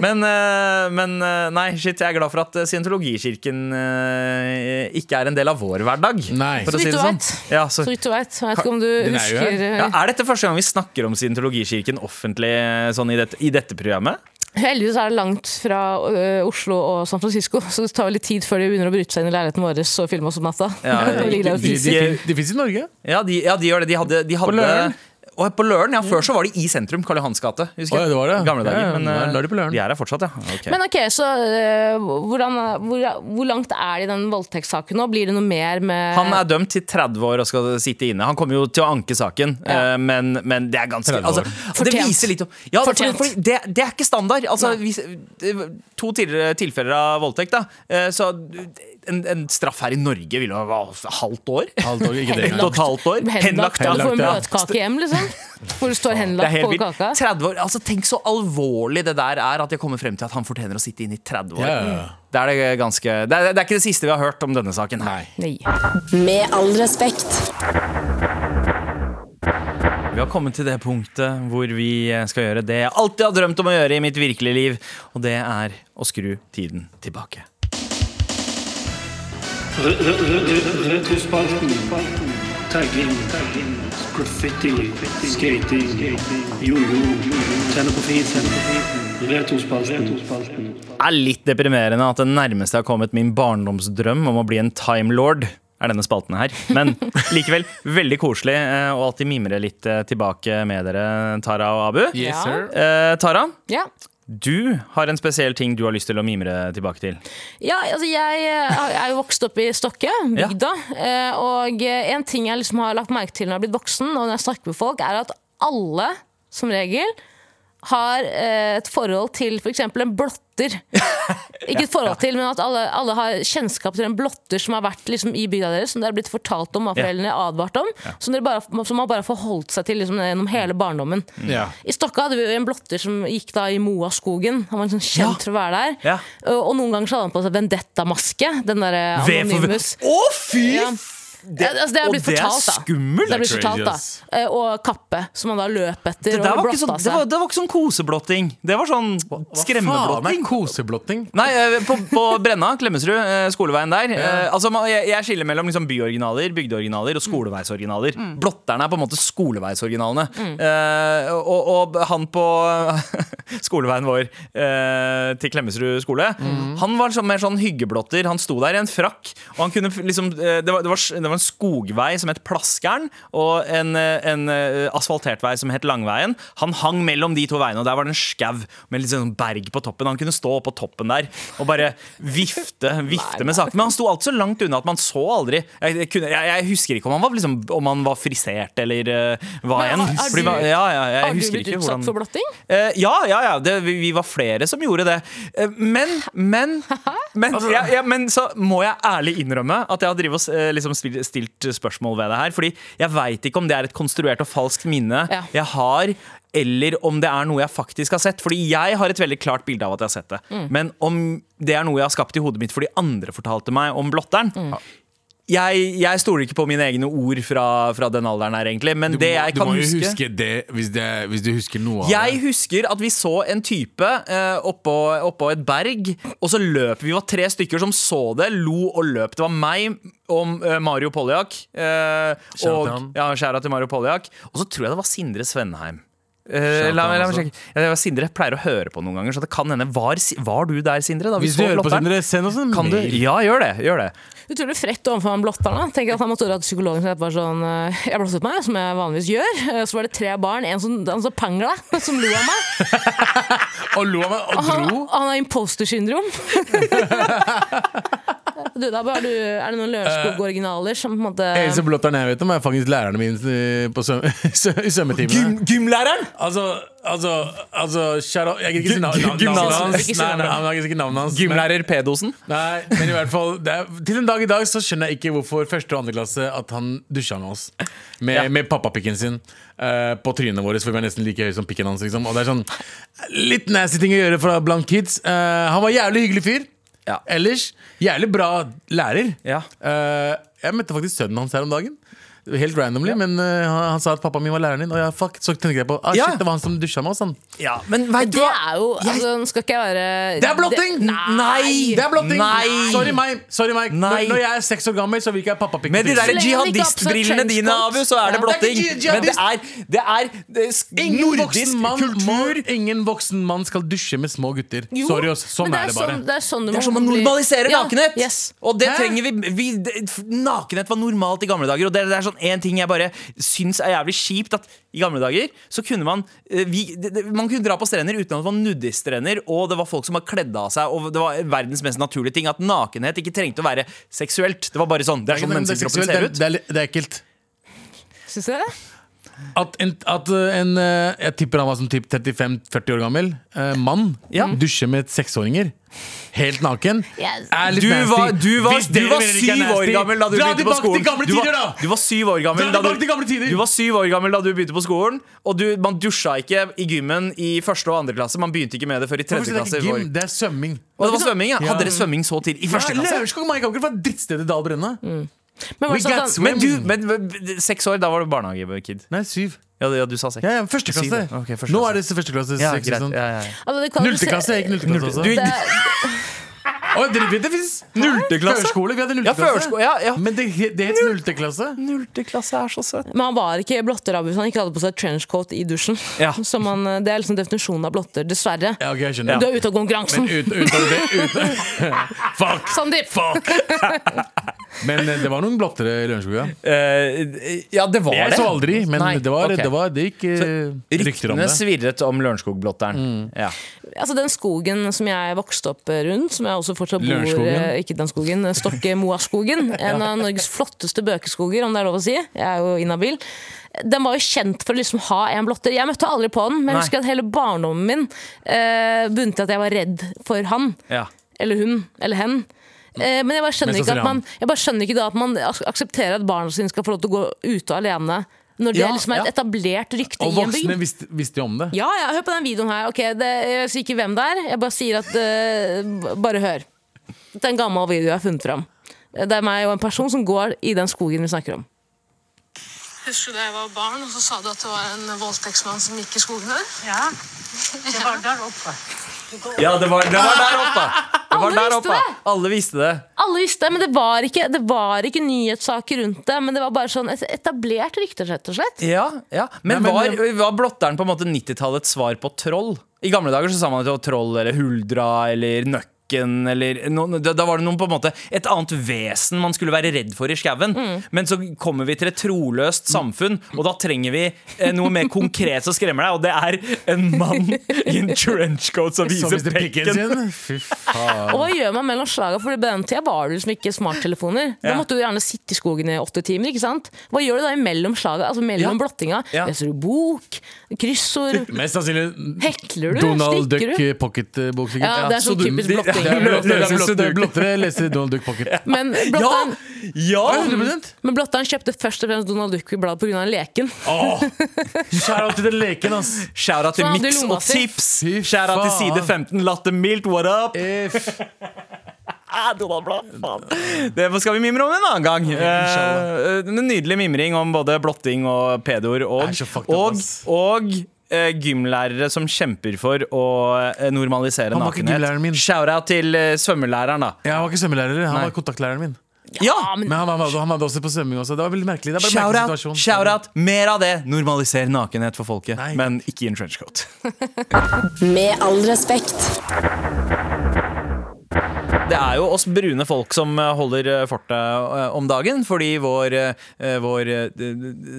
[SPEAKER 2] Men, eh, men eh, nei, shit, jeg er glad for at eh, scientologikirken eh, ikke er en del av vår hverdag.
[SPEAKER 4] Nei.
[SPEAKER 2] For å
[SPEAKER 3] Så
[SPEAKER 2] si
[SPEAKER 3] vidt
[SPEAKER 2] det
[SPEAKER 3] du
[SPEAKER 2] sånn.
[SPEAKER 3] vet.
[SPEAKER 2] Ja, så,
[SPEAKER 3] Så vidt du veit. Jeg vet ikke om du
[SPEAKER 4] Den er jo her.
[SPEAKER 3] husker eh,
[SPEAKER 2] ja, er dette første gang vi snakker om scientologikirken offentlig eh, sånn i, dette, i dette programmet?
[SPEAKER 3] Heldigvis er det langt fra eh, Oslo og San Francisco, så det tar jo litt tid før de begynner å bryte seg inn i leiligheten vår og filme oss om natta.
[SPEAKER 2] Ja,
[SPEAKER 3] Og ligge der og
[SPEAKER 4] De,
[SPEAKER 3] fise.
[SPEAKER 4] de, fin- de fins i Norge.
[SPEAKER 2] Ja, de, ja, de gjør det. De hadde, de hadde
[SPEAKER 4] Løren.
[SPEAKER 2] Å, på Løren, ja. Før så var de i sentrum, Karl Johans gate. husker
[SPEAKER 4] Å, ja,
[SPEAKER 2] jeg.
[SPEAKER 4] det var det.
[SPEAKER 2] Gamle
[SPEAKER 4] Ja,
[SPEAKER 2] dager.
[SPEAKER 4] ja,
[SPEAKER 2] Men
[SPEAKER 4] da
[SPEAKER 2] eh,
[SPEAKER 4] er de på Løren.
[SPEAKER 2] de er her fortsatt, ja. Ok.
[SPEAKER 3] Men ok, så eh, hvordan, hvor, hvor langt er det i den voldtektssaken nå? Blir det noe mer med
[SPEAKER 2] Han er dømt til 30 år og skal sitte inne. Han kommer jo til å anke saken,
[SPEAKER 3] Ja.
[SPEAKER 2] eh, men, men det er ganske
[SPEAKER 4] 30 år.
[SPEAKER 2] altså, Det
[SPEAKER 3] Fortjent.
[SPEAKER 2] viser litt om ja, det,
[SPEAKER 3] Fortjent.
[SPEAKER 2] fordi det, det er ikke standard. Altså, hvis, det- to tidligere tilfeller av voldtekt, da. eh, Så en, en straff her i Norge ville jo være halvt år.
[SPEAKER 4] Halvt år, ikke det
[SPEAKER 2] Ett og
[SPEAKER 4] engang.
[SPEAKER 2] et halvt år.
[SPEAKER 3] Henlagt, ja. Du får en
[SPEAKER 4] ja.
[SPEAKER 3] bløtkake hjem, liksom. Hvor det står
[SPEAKER 2] Det er
[SPEAKER 3] 'henlagt'
[SPEAKER 2] helt
[SPEAKER 3] på
[SPEAKER 2] vilt.
[SPEAKER 3] kaka.
[SPEAKER 2] 30 år, altså Tenk så alvorlig det der er, at jeg kommer frem til at han fortjener å sitte inne i 30 år.
[SPEAKER 4] Ja, ja, ja.
[SPEAKER 2] Det, er det, ganske, det, er, det er ikke det siste vi har hørt om denne saken. her
[SPEAKER 4] Nei.
[SPEAKER 3] Nei.
[SPEAKER 1] Med all respekt.
[SPEAKER 2] Vi har kommet til det punktet hvor vi eh, skal gjøre det jeg alltid har drømt om å gjøre i mitt virkelige liv, og det er å skru tiden tilbake.
[SPEAKER 5] Retrospalten. Tagging. Graffiti. Skating. Jojo. Tenne på fisen. Retrospalten.
[SPEAKER 2] Det er litt deprimerende at det nærmeste har kommet min barndomsdrøm om å bli en timelord. Er denne spalten her. Men likevel veldig koselig eh, å alltid mimre litt eh, tilbake med dere, Tara og Abu.
[SPEAKER 4] Yes,
[SPEAKER 3] Ja.
[SPEAKER 4] sir.
[SPEAKER 2] Eh, Tara,
[SPEAKER 3] Ja.
[SPEAKER 2] du har en spesiell ting du har lyst til å mimre tilbake til.
[SPEAKER 3] ja, altså jeg eh, er jo vokst opp i Stokke, bygda. eh, Og eh, en ting jeg liksom har lagt merke til når jeg har blitt voksen, og når jeg snakker med folk, er at alle, som regel, har eh, et forhold til f.eks. en blotter. Ikke et forhold til, men at alle, alle har kjennskap til en blotter som har vært liksom, i bygda deres, som det har blitt fortalt om av
[SPEAKER 2] Ja.
[SPEAKER 3] foreldrene, advart om, som, dere bare, som man bare har forholdt seg til liksom, gjennom hele barndommen.
[SPEAKER 2] Mm.
[SPEAKER 4] Ja.
[SPEAKER 3] I Stokka hadde vi jo en blotter som gikk da i Moaskogen. Han var liksom kjent for å være
[SPEAKER 2] Ja.
[SPEAKER 3] der. Og- Og noen ganger så hadde han på seg vendetta-maske. Den derre
[SPEAKER 2] Ved for-
[SPEAKER 3] Anonymous.
[SPEAKER 2] Å, fy!
[SPEAKER 3] Ja. Det, altså, det er
[SPEAKER 2] og
[SPEAKER 3] blitt
[SPEAKER 2] det er
[SPEAKER 3] fortalt, da.
[SPEAKER 2] skummelt.
[SPEAKER 3] Det er blitt
[SPEAKER 4] Det er
[SPEAKER 3] fortalt,
[SPEAKER 4] crazy,
[SPEAKER 3] da.
[SPEAKER 4] ass.
[SPEAKER 3] Eh, Og kappe, som han da løp etter
[SPEAKER 2] Det, der var
[SPEAKER 3] og
[SPEAKER 2] ikke
[SPEAKER 3] blotta
[SPEAKER 2] sånn, det, var,
[SPEAKER 3] seg.
[SPEAKER 2] det var ikke sånn koseblotting. Det var sånn
[SPEAKER 4] Faen,
[SPEAKER 2] skremmeblotting.
[SPEAKER 4] nei, koseblotting.
[SPEAKER 2] Nei, eh, på, på Brenna, Klemetsrud, eh, skoleveien der. Eh, Altså, man- jeg, jeg skiller mellom liksom byoriginaler, bygdeoriginaler og skoleveisoriginaler. Blotterne er på en måte skoleveisoriginalene. Eh, og, og han på skoleveien vår eh, til Klemetsrud skole, han var sånn, mer sånn hyggeblotter. Han sto der i en frakk, og han kunne f- liksom eh, Det var, det var, s- det var en skogvei som het Plaskeren, og en, eh, en eh, asfaltert vei som het Langveien. Han hang mellom de to veiene, og der var det en skau med litt sånn berg på toppen. Han kunne stå oppå toppen der og bare vifte, vifte med sakene. Men han sto alltid så langt unna at man så aldri. Jeg, jeg, kunne, jeg, jeg husker ikke om han var, liksom, om han var frisert eller eh, hva
[SPEAKER 3] Men
[SPEAKER 2] enn.
[SPEAKER 3] har- har
[SPEAKER 2] Fordi
[SPEAKER 3] du-
[SPEAKER 2] man- ja, ja, jeg,
[SPEAKER 3] Har du
[SPEAKER 2] husker
[SPEAKER 3] blitt
[SPEAKER 2] ikke
[SPEAKER 3] utsatt
[SPEAKER 2] hvordan-
[SPEAKER 3] for blotting?
[SPEAKER 2] Eh, ja, ja, ja. Det, vi, vi var flere som gjorde det. Eh, men, men, men, ja, ja, men så må jeg ærlig innrømme at jeg har drivet og s- eh, liksom spil- stilt spørsmål ved det her. Fordi jeg veit ikke om det er et konstruert og falskt minne
[SPEAKER 3] Ja.
[SPEAKER 2] jeg har, eller om det er noe jeg faktisk har sett. Fordi jeg har et veldig klart bilde av at jeg har sett det. Men om det er noe jeg har skapt i hodet mitt fordi andre fortalte meg om blotteren Jeg, jeg stoler ikke på mine egne ord fra, fra den alderen her, egentlig. Men det jeg
[SPEAKER 4] du
[SPEAKER 2] kan
[SPEAKER 4] må jo
[SPEAKER 2] huske
[SPEAKER 4] huske det hvis, det hvis du husker noe av
[SPEAKER 2] jeg
[SPEAKER 4] det.
[SPEAKER 2] husker at vi så en type eh, oppå, oppå et berg, og så løp vi. Vi var tre stykker som så det, lo og løp. Det var meg om eh, Mario Poljak. Eh,
[SPEAKER 4] Shout
[SPEAKER 2] og
[SPEAKER 4] out.
[SPEAKER 2] ja, skjæra til Mario Poljak. Og så tror jeg det var Sindre Svenheim. Eh, la, meg- la meg
[SPEAKER 4] altså.
[SPEAKER 2] sjekke. Ja, Sindre pleier å høre på noen ganger, så det kan hende Var, Si- var du der, Sindre? Da vi
[SPEAKER 4] Hvis du
[SPEAKER 2] så
[SPEAKER 4] hører på,
[SPEAKER 2] blotteren?
[SPEAKER 4] Sindre, send oss en
[SPEAKER 2] kan du?
[SPEAKER 4] mail.
[SPEAKER 2] Ja, gjør det. Gjør det.
[SPEAKER 3] Utrolig frekt overfor han blotteren. da. Tenk at han måtte ha dratt til psykologen sin og bare sånn eh, Jeg blottet meg, som jeg vanligvis gjør. Eh, Så var det tre barn, en som han så pangla, som lo av meg.
[SPEAKER 4] Og lo av meg og
[SPEAKER 3] Han,
[SPEAKER 4] dro.
[SPEAKER 3] han har imposter syndrom. du, da bare, du, er det noen Lørenskog-originaler som på en måte
[SPEAKER 4] Eneste blotteren jeg vet om, er faktisk lærerne mine eh, på svøm i svømmetimene.
[SPEAKER 2] gymlæreren!
[SPEAKER 4] Altså, altså, altså kjære, Jeg gidder ikke si na-
[SPEAKER 2] Gym-
[SPEAKER 4] na- navnet
[SPEAKER 2] gymnas-
[SPEAKER 4] hans.
[SPEAKER 3] ikke si
[SPEAKER 4] Nei,
[SPEAKER 3] navnet.
[SPEAKER 4] nei, nei, jeg gidder ikke si navnet hans. Men-
[SPEAKER 2] Gymlærer Pedosen.
[SPEAKER 4] Nei, men i hvert fall det er, Til en dag i dag så skjønner jeg ikke hvorfor første og andre klasse at han dusja med oss. Med,
[SPEAKER 2] Ja.
[SPEAKER 4] med pappapikken sin eh, på trynet vårt, for vi var nesten like høye som pikken hans. Liksom. Og det er sånn Litt nasty ting å gjøre for, blant kids. Eh, han var jævlig hyggelig fyr.
[SPEAKER 2] Ja.
[SPEAKER 4] Ellers jævlig bra lærer.
[SPEAKER 2] Ja.
[SPEAKER 4] Eh, jeg møtte faktisk sønnen hans her om dagen. Helt randomly, men eh, han, han sa at pappaen min var læreren din. Og ja, fuck, så tenker jeg på ah, shit,
[SPEAKER 2] Ja.
[SPEAKER 4] det var han som dusja med oss. Han.
[SPEAKER 2] Ja, men veit du
[SPEAKER 3] Det
[SPEAKER 2] hva?
[SPEAKER 3] er jo altså, Nå skal ikke jeg være
[SPEAKER 4] Det er blotting!
[SPEAKER 3] Det-
[SPEAKER 2] Nei!
[SPEAKER 4] Det er blotting!
[SPEAKER 2] Nei!
[SPEAKER 4] Sorry meg. Sorry meg. Når,
[SPEAKER 2] Nei.
[SPEAKER 4] når jeg er seks år gammel, så vil ikke jeg pappapikk.
[SPEAKER 2] Med de der
[SPEAKER 3] lenge han ikke har på seg
[SPEAKER 2] jihadistbrillene dine, Abu,
[SPEAKER 3] trenchcoat.
[SPEAKER 2] så er det
[SPEAKER 3] Ja.
[SPEAKER 2] blotting.
[SPEAKER 4] Det er ikke
[SPEAKER 2] Men det
[SPEAKER 4] jihadist.
[SPEAKER 2] er, det er, det er sk-
[SPEAKER 4] Ingen voksen,
[SPEAKER 2] nordisk
[SPEAKER 4] mann må,
[SPEAKER 2] kultur.
[SPEAKER 4] ingen voksen mann skal dusje med små gutter.
[SPEAKER 3] Jo,
[SPEAKER 4] Sorry, ass. Sånn
[SPEAKER 3] men
[SPEAKER 4] er, det bare.
[SPEAKER 3] Sånn, det er sånn, du
[SPEAKER 2] Det er
[SPEAKER 3] må
[SPEAKER 2] som å
[SPEAKER 3] bli-
[SPEAKER 2] normalisere
[SPEAKER 3] Ja,
[SPEAKER 2] nakenhet!
[SPEAKER 3] Yes.
[SPEAKER 2] Og det
[SPEAKER 4] Hæ?
[SPEAKER 2] trenger vi, vi det, f- Nakenhet var normalt i gamle dager, og det, det er sånn en ting jeg bare syns er jævlig kjipt. At i gamle dager så kunne man eh, vi, det, det, Man kunne dra på strender uten at det var nudiststrender, og det var folk som var kledd av seg, og det var verdens mest naturlige ting. At nakenhet ikke trengte å være seksuelt. Det var bare sånn. Det er sånn
[SPEAKER 4] Men det er
[SPEAKER 2] menneskekroppen
[SPEAKER 4] seksuelt,
[SPEAKER 2] ser
[SPEAKER 4] det er-
[SPEAKER 2] ut.
[SPEAKER 4] Det er, det er ekkelt.
[SPEAKER 3] Syns dere det?
[SPEAKER 4] At en, at eh, en eh, Jeg tipper han var som typ 35-40 år gammel. eh, mann.
[SPEAKER 2] Ja.
[SPEAKER 4] Dusjer med seksåringer. Helt naken.
[SPEAKER 3] Yes.
[SPEAKER 4] Er litt
[SPEAKER 2] Du
[SPEAKER 4] nasty.
[SPEAKER 2] var, du var,
[SPEAKER 4] Hvis
[SPEAKER 2] du
[SPEAKER 4] dere
[SPEAKER 2] var
[SPEAKER 4] mener det ikke er
[SPEAKER 2] syv år
[SPEAKER 4] nasty,
[SPEAKER 2] gammel da du
[SPEAKER 4] Dra
[SPEAKER 2] begynte på skolen.
[SPEAKER 4] tilbake til gamle
[SPEAKER 2] Du var,
[SPEAKER 4] tider, da!
[SPEAKER 2] du var syv år gammel
[SPEAKER 4] Dra
[SPEAKER 2] da
[SPEAKER 4] tilbake til gamle
[SPEAKER 2] du,
[SPEAKER 4] tider!
[SPEAKER 2] du var syv år gammel da du begynte på skolen. Og du, man dusja ikke i gymmen i første og andre klasse. Man begynte ikke med det før i
[SPEAKER 4] Hvorfor
[SPEAKER 2] tredje
[SPEAKER 4] skal
[SPEAKER 2] klasse. i
[SPEAKER 4] det ikke
[SPEAKER 2] vår.
[SPEAKER 4] gym? Det er svømming.
[SPEAKER 2] Og det var svømming, ja. Hadde
[SPEAKER 4] Ja.
[SPEAKER 2] dere svømming så til i første
[SPEAKER 4] Ja,
[SPEAKER 2] klasse?
[SPEAKER 4] Lørenskog Maikaker var drittstedet Dal Brenne.
[SPEAKER 3] Men
[SPEAKER 4] We
[SPEAKER 3] var det sånn
[SPEAKER 4] got
[SPEAKER 3] at han-
[SPEAKER 2] Men du, men, men seks år, da var du barnehagekid.
[SPEAKER 4] Nei, syv.
[SPEAKER 2] Ja, du- ja, du sa seks.
[SPEAKER 4] Ja, ja, første
[SPEAKER 2] Syv,
[SPEAKER 4] klasse.
[SPEAKER 2] ja. Ok, første
[SPEAKER 4] Nå
[SPEAKER 2] klasse.
[SPEAKER 4] er det første klasse.
[SPEAKER 2] Ja,
[SPEAKER 4] seks,
[SPEAKER 2] greit.
[SPEAKER 4] sånn.
[SPEAKER 2] Ja, ja, ja.
[SPEAKER 3] altså, det kvalifiser-
[SPEAKER 4] Nullte klasse, jeg gikk nullte klasse også.
[SPEAKER 2] Du,
[SPEAKER 3] Det,
[SPEAKER 4] Å, dere vet det fins! Nullte
[SPEAKER 2] klasse?
[SPEAKER 4] Førskole, vi hadde
[SPEAKER 2] ja,
[SPEAKER 4] nullte klasse.
[SPEAKER 2] førskole. Ja, ja.
[SPEAKER 4] Men det, he- det het nullte klasse.
[SPEAKER 2] Nullte klasse er så søt.
[SPEAKER 3] men han var ikke blotter Abu, hvis han ikke hadde på seg trenchcoat i dusjen.
[SPEAKER 2] Ja.
[SPEAKER 3] Så man, det er liksom definisjonen av blotter, dessverre.
[SPEAKER 4] Ja, ok, jeg skjønner.
[SPEAKER 3] Du er ute av konkurransen,
[SPEAKER 4] Men ut, utover det ut. Fuck!
[SPEAKER 3] Sandeep!
[SPEAKER 4] Men eh, det var noen blottere i Lørenskog, ja.
[SPEAKER 2] Eh, ja, det var det.
[SPEAKER 4] Jeg så aldri, men
[SPEAKER 2] Nei,
[SPEAKER 4] det, var,
[SPEAKER 2] ok.
[SPEAKER 4] det, var, det gikk eh, rykter om
[SPEAKER 2] Ryktene
[SPEAKER 4] det.
[SPEAKER 2] svirret om Mm. Lørenskog-blotteren. Ja.
[SPEAKER 3] Altså Den skogen som jeg vokste opp rundt, som jeg også fortsatt bor
[SPEAKER 4] Lørenskogen.
[SPEAKER 3] eh, Ikke den skogen, Stokkemoaskogen. En av Norges flotteste bøkeskoger, om det er lov å si. Jeg er jo inhabil. Den var jo kjent for å liksom ha en blotter. Jeg møtte aldri på den, men
[SPEAKER 2] Nei.
[SPEAKER 3] jeg husker at hele barndommen min eh, bunnet i at jeg var redd for han.
[SPEAKER 2] Ja.
[SPEAKER 3] Eller hun. Eller hen. Eh, men jeg bare,
[SPEAKER 4] Men
[SPEAKER 3] skjønner
[SPEAKER 4] så
[SPEAKER 3] ikke
[SPEAKER 4] sier
[SPEAKER 3] at man,
[SPEAKER 4] han.
[SPEAKER 3] jeg bare skjønner ikke da at man as- aksepterer at barna sine skal få lov til å gå ute alene, når det
[SPEAKER 2] Ja,
[SPEAKER 3] liksom er
[SPEAKER 2] ja.
[SPEAKER 3] et etablert rykte
[SPEAKER 4] Og
[SPEAKER 3] i en bygd.
[SPEAKER 4] voksne visste, visste jo om det.
[SPEAKER 3] Ja, ja, hør på den videoen her. Ok, det, jeg sier ikke hvem det er. Jeg bare sier at eh, b- Bare hør. Det er en gammel video jeg har funnet fram. Det er meg og en person som går i den skogen vi snakker om.
[SPEAKER 6] Husker du da jeg var barn, og så sa du at det var en voldtektsmann som gikk i skogen her?
[SPEAKER 7] Ja, det var der oppe.
[SPEAKER 2] Ja, det var, det var der oppe! Det var
[SPEAKER 3] Alle
[SPEAKER 2] der
[SPEAKER 3] visste
[SPEAKER 2] oppe.
[SPEAKER 3] det.
[SPEAKER 2] Alle visste det.
[SPEAKER 3] Alle visste det, men det var ikke, det var ikke nyhetssaker rundt det. Men det var bare sånn et etablert rykte, rett og slett.
[SPEAKER 2] Ja, ja. Men,
[SPEAKER 4] Nei, men-
[SPEAKER 2] var, var blotteren på en måte 90-tallets svar på troll? I gamle dager så sa man at det var troll eller huldra eller nøkken eller noen, da, da var det noen på en måte et annet vesen man skulle være redd for i skauen. Men så kommer vi til et troløst samfunn, og da trenger vi eh, noe mer konkret som skremmer deg, og det er en mann i en trenchcoat som
[SPEAKER 4] Så
[SPEAKER 2] viser
[SPEAKER 4] visste pikken
[SPEAKER 2] pekken.
[SPEAKER 4] sin. Fy faen.
[SPEAKER 3] Og hva gjør man mellom slaga? For på den tida var det liksom ikke smarttelefoner.
[SPEAKER 2] Ja.
[SPEAKER 3] Da måtte du gjerne sitte i skogen i åtte timer. ikke sant? Hva gjør du da imellom slaga? Altså mellom
[SPEAKER 2] Ja.
[SPEAKER 3] blottinga?
[SPEAKER 2] Ja.
[SPEAKER 3] Leser du bok? Kryssord?
[SPEAKER 4] Mest sannsynlig
[SPEAKER 3] Hekler du?
[SPEAKER 4] Donald
[SPEAKER 3] Stikker
[SPEAKER 4] Duck
[SPEAKER 3] du?
[SPEAKER 4] eh, pocketbok, sikkert.
[SPEAKER 3] Ja, det er sånn
[SPEAKER 4] du-
[SPEAKER 3] typisk
[SPEAKER 4] de-
[SPEAKER 3] blotting.
[SPEAKER 4] det er
[SPEAKER 2] Det
[SPEAKER 4] blottere,
[SPEAKER 2] er
[SPEAKER 4] blottere,
[SPEAKER 2] blottere.
[SPEAKER 4] blottere leser Donald Duck pocket.
[SPEAKER 3] Men
[SPEAKER 2] Ja!
[SPEAKER 3] blotteren,
[SPEAKER 2] ja!
[SPEAKER 4] Ja, 100%.
[SPEAKER 3] Men blotteren kjøpte først og fremst Donald Duck-bladet pga. leken.
[SPEAKER 4] Åh, Shout out til den leken, ass.
[SPEAKER 2] Skjæra til
[SPEAKER 3] Så han hadde
[SPEAKER 2] Mix
[SPEAKER 3] lomma
[SPEAKER 2] og
[SPEAKER 3] si.
[SPEAKER 2] Tips.
[SPEAKER 4] Fy
[SPEAKER 2] Skjæra til
[SPEAKER 4] faen.
[SPEAKER 2] side 15. Latte Milt, what up?
[SPEAKER 4] If.
[SPEAKER 2] Ah, Donald Blad, faen. Det skal vi mimre om en annen gang. Eh, en nydelig mimring om både blotting og pedoer og,
[SPEAKER 4] Jeg er så fucked up,
[SPEAKER 2] og,
[SPEAKER 4] ass.
[SPEAKER 2] og eh, gymlærere som kjemper for å eh, normalisere
[SPEAKER 4] Han var ikke
[SPEAKER 2] nakenhet.
[SPEAKER 4] gymlæreren min.
[SPEAKER 2] Shout-out til eh, svømmelæreren, da.
[SPEAKER 4] Jeg var ikke svømmelæreren, han
[SPEAKER 2] Nei.
[SPEAKER 4] var kontaktlæreren min.
[SPEAKER 2] Ja!
[SPEAKER 3] men
[SPEAKER 4] Men han, var- han hadde også på svømming også. Det var veldig merkelig. Det er bare en
[SPEAKER 2] Shout-out!
[SPEAKER 4] merkelig situasjon.
[SPEAKER 2] Shout Mer av det! Normaliser nakenhet for folket,
[SPEAKER 4] Nei.
[SPEAKER 2] men ikke i en trenchcoat.
[SPEAKER 1] Med all respekt.
[SPEAKER 2] Det er jo oss brune folk som eh, holder eh, fortet eh, om dagen, fordi vår, eh, vår eh, d-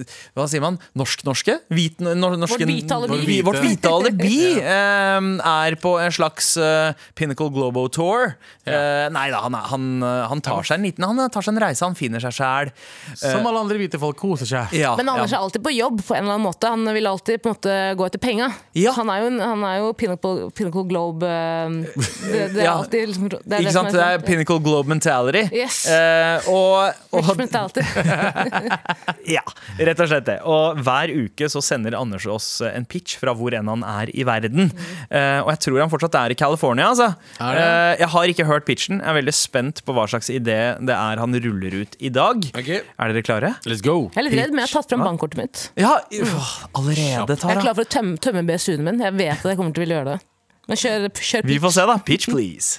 [SPEAKER 2] d- Hva sier man? Norsk-norske? Hvit, nor norske,
[SPEAKER 3] Vårt hvite alibi.
[SPEAKER 2] Vårt hvi- Vårt hvite alibi eh, er på en slags eh, Pinnacle Globo Tour. Eh, Nei da, han, er- han, eh, han tar seg en liten Han eh, tar seg en reise, han finner seg sjæl.
[SPEAKER 4] Eh, Som alle andre hvite folk koser seg.
[SPEAKER 2] Ah, Ja,
[SPEAKER 3] Men Anders er alltid på jobb på en eller annen måte. Han vil alltid på en måte gå etter penga.
[SPEAKER 2] Ja.
[SPEAKER 3] Han er jo, en- han er jo Pinnacle, Pinnacle Globe eh, Det, det er
[SPEAKER 2] Ja.
[SPEAKER 3] alltid liksom, det er det
[SPEAKER 2] Ikke
[SPEAKER 3] som
[SPEAKER 2] sant? Det er Pinnacle Globe Mentality.
[SPEAKER 3] Yes.
[SPEAKER 2] Eh, og,
[SPEAKER 3] Rich
[SPEAKER 2] og
[SPEAKER 3] mentality.
[SPEAKER 2] Ja, rett og slett det. Og hver uke så sender Anders oss eh, en pitch fra hvor enn han er i verden. Eh, og jeg tror han fortsatt er i California, altså.
[SPEAKER 4] Er det?
[SPEAKER 2] Eh, jeg har ikke hørt pitchen. Jeg er veldig spent på hva slags idé det er han ruller ut i dag.
[SPEAKER 4] Ok.
[SPEAKER 2] Er dere klare?
[SPEAKER 4] Let's go!
[SPEAKER 3] Jeg er litt redd, men jeg har tatt fram bankkortet mitt.
[SPEAKER 2] Ja, øh, allerede,
[SPEAKER 3] Jeg er
[SPEAKER 2] Tara.
[SPEAKER 3] klar for å tømme, tømme BSU-en min. Jeg vet at jeg kommer til å ville gjøre det. Men kjør, kjør
[SPEAKER 2] Vi får se, da. Pitch, please.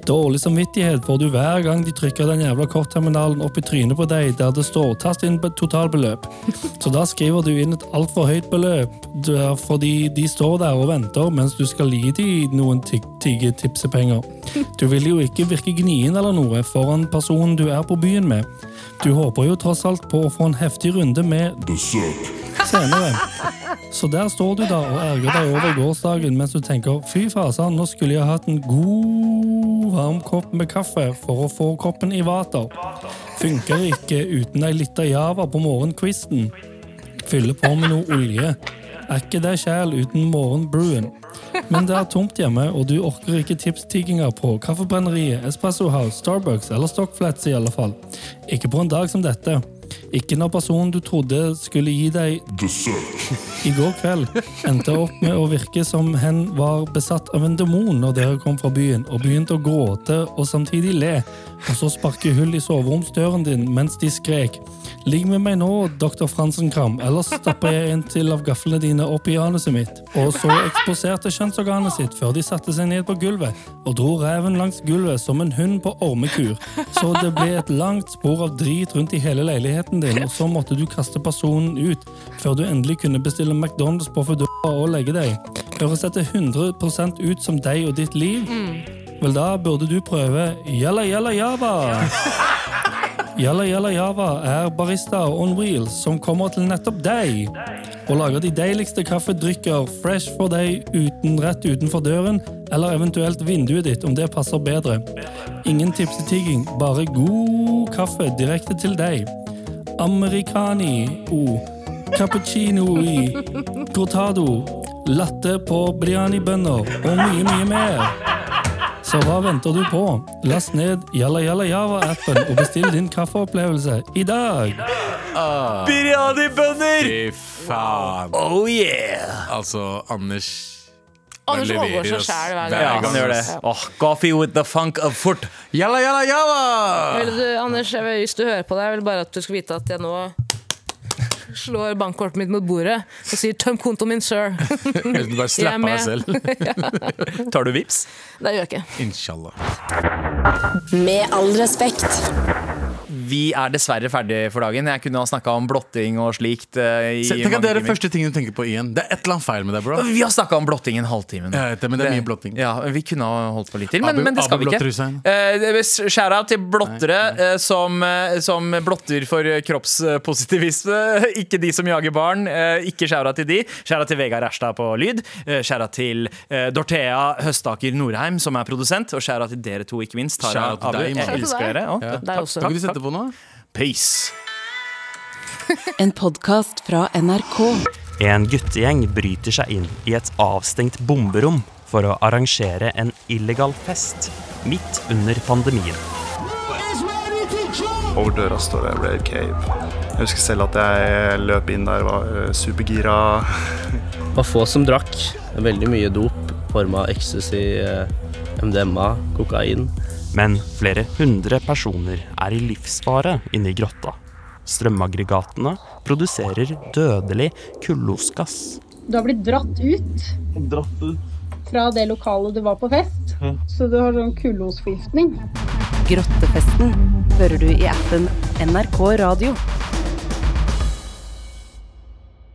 [SPEAKER 8] Dårlig samvittighet får du hver gang de trykker den jævla kortterminalen opp i trynet på deg der det står 'tast inn be- totalbeløp'. Så da skriver du inn et altfor høyt beløp det er fordi de står der og venter mens du skal gi dem noen tig- tiggetipsepenger. Du vil jo ikke virke gnien eller noe foran personen du er på byen med. Du håper jo tross alt på å få en heftig runde med senere. Så der står du da og erger deg over gårsdagen mens du tenker fy fasan, nå skulle jeg hatt en god varm kopp med kaffe for å få kroppen i vater. Funker ikke uten ei lita java på morgenkvisten. Fylle på med noe olje. Er ikke det sjæl uten morgenbruen. Men det er tomt hjemme, og du orker ikke tipstigginga på Kaffebrenneriet, Espresso House, Starbucks eller Stockflats i alle fall. Ikke på en dag som dette. Ikke når personen du trodde skulle gi deg i går kveld endte jeg opp med å virke som hen var besatt av en demon når dere kom fra byen, og begynte å gråte og samtidig le, og så sparke hull i soveromsdøren din mens de skrek. Ligg med meg nå, dr. Fransenkram, ellers stapper jeg en til av gaflene dine opp i anuset mitt. Og så eksposerte kjønnsorganet sitt før de satte seg ned på gulvet, og dro reven langs gulvet som en hund på ormekur. Så det ble et langt spor av drit rundt i hele leiligheten din, og så måtte du kaste personen ut før du endelig kunne bestille McDonald's på Foodora og legge deg. Høres dette 100 ut som deg og ditt liv? Vel, da burde du prøve Jalla Jalla Java. Jalla Jalla Java er barista on wheels som kommer til nettopp deg. Og lager de deiligste kaffedrykker fresh for deg uten rett utenfor døren, eller eventuelt vinduet ditt om det passer bedre. Ingen tipsetigging, bare god kaffe direkte til deg. Americani O Cappuccino i cortado Latte på brianibønner Og mye, mye mer Så hva venter du på? Last ned Jalla Jalla Java-appen Og bestill din kaffeopplevelse i dag
[SPEAKER 2] Biryani-bønner!
[SPEAKER 4] Fy faen.
[SPEAKER 2] Oh yeah!
[SPEAKER 4] Altså, Anders
[SPEAKER 3] Anders
[SPEAKER 4] Han leverer,
[SPEAKER 3] overgår seg
[SPEAKER 4] ass.
[SPEAKER 3] selv hver
[SPEAKER 4] Hver
[SPEAKER 2] Ja,
[SPEAKER 3] gang.
[SPEAKER 2] han gjør det. Åh, coffee with the funk of fort.
[SPEAKER 4] Jalla, jalla, jalla!
[SPEAKER 3] Vil du, Anders, jeg vil, hvis du hører på deg, jeg vil bare at du skal vite at jeg nå slår bankkortet mitt mot bordet og sier 'tøm kontoen min, sir'.
[SPEAKER 4] Hvis du bare
[SPEAKER 3] Jeg er
[SPEAKER 4] slapper
[SPEAKER 3] med.
[SPEAKER 4] deg selv.
[SPEAKER 2] Tar du vips?
[SPEAKER 3] Det gjør jeg ikke.
[SPEAKER 4] Inshallah.
[SPEAKER 1] Med all respekt.
[SPEAKER 2] Vi er dessverre ferdig for dagen. Jeg kunne ha snakka om blotting og slikt. eh, i
[SPEAKER 4] Se, Tenk at
[SPEAKER 2] mange
[SPEAKER 4] det er det
[SPEAKER 2] timer.
[SPEAKER 4] første tingen du tenker på igjen. Det er et eller annet feil med deg, bro.
[SPEAKER 2] Vi har snakka om blotting i en halvtime. nå.
[SPEAKER 4] Jeg vet det, men det er mye blotting.
[SPEAKER 2] Ja, vi kunne ha holdt på litt til, men,
[SPEAKER 4] Abu-
[SPEAKER 2] men det skal
[SPEAKER 4] Abu
[SPEAKER 2] vi
[SPEAKER 4] blotter seg.
[SPEAKER 2] ikke. Eh, Skjæra til blottere eh, som, eh, som blotter for eh, kroppspositivisme. Ikke de som jager barn. eh, Ikke skjæra til de. Skjæra til Vegard Erstad på lyd. eh, Skjæra til eh, Dorthea Høstaker Norheim, som er produsent. Og skjæra til dere to, ikke minst. Tara
[SPEAKER 4] Skjæra til
[SPEAKER 2] Abu,
[SPEAKER 4] deg,
[SPEAKER 2] jeg
[SPEAKER 4] mann.
[SPEAKER 2] elsker
[SPEAKER 3] Skjæra til
[SPEAKER 2] dere. Å,
[SPEAKER 4] Ja.
[SPEAKER 3] Det er også.
[SPEAKER 4] Kan ikke du sette på noe?
[SPEAKER 2] Peace.
[SPEAKER 9] En podkast fra NRK.
[SPEAKER 10] En guttegjeng bryter seg inn i et avstengt bomberom for å arrangere en illegal fest midt under pandemien.
[SPEAKER 11] is ready to join Over døra står det Rave Cave. Jeg husker selv at jeg løp inn der, var eh, supergira.
[SPEAKER 12] var få som drakk. Veldig mye dop. Forma ecstasy, eh, MDMA, kokain.
[SPEAKER 10] Men flere hundre personer er i livsfare inne i grotta. Strømaggregatene produserer dødelig kullosgass.
[SPEAKER 13] Du har blitt dratt ut
[SPEAKER 10] Dratt ut.
[SPEAKER 13] fra det lokalet du var på fest,
[SPEAKER 10] Ja.
[SPEAKER 13] så du har sånn kullosforgiftning.
[SPEAKER 1] Grottefesten hører du i appen NRK Radio.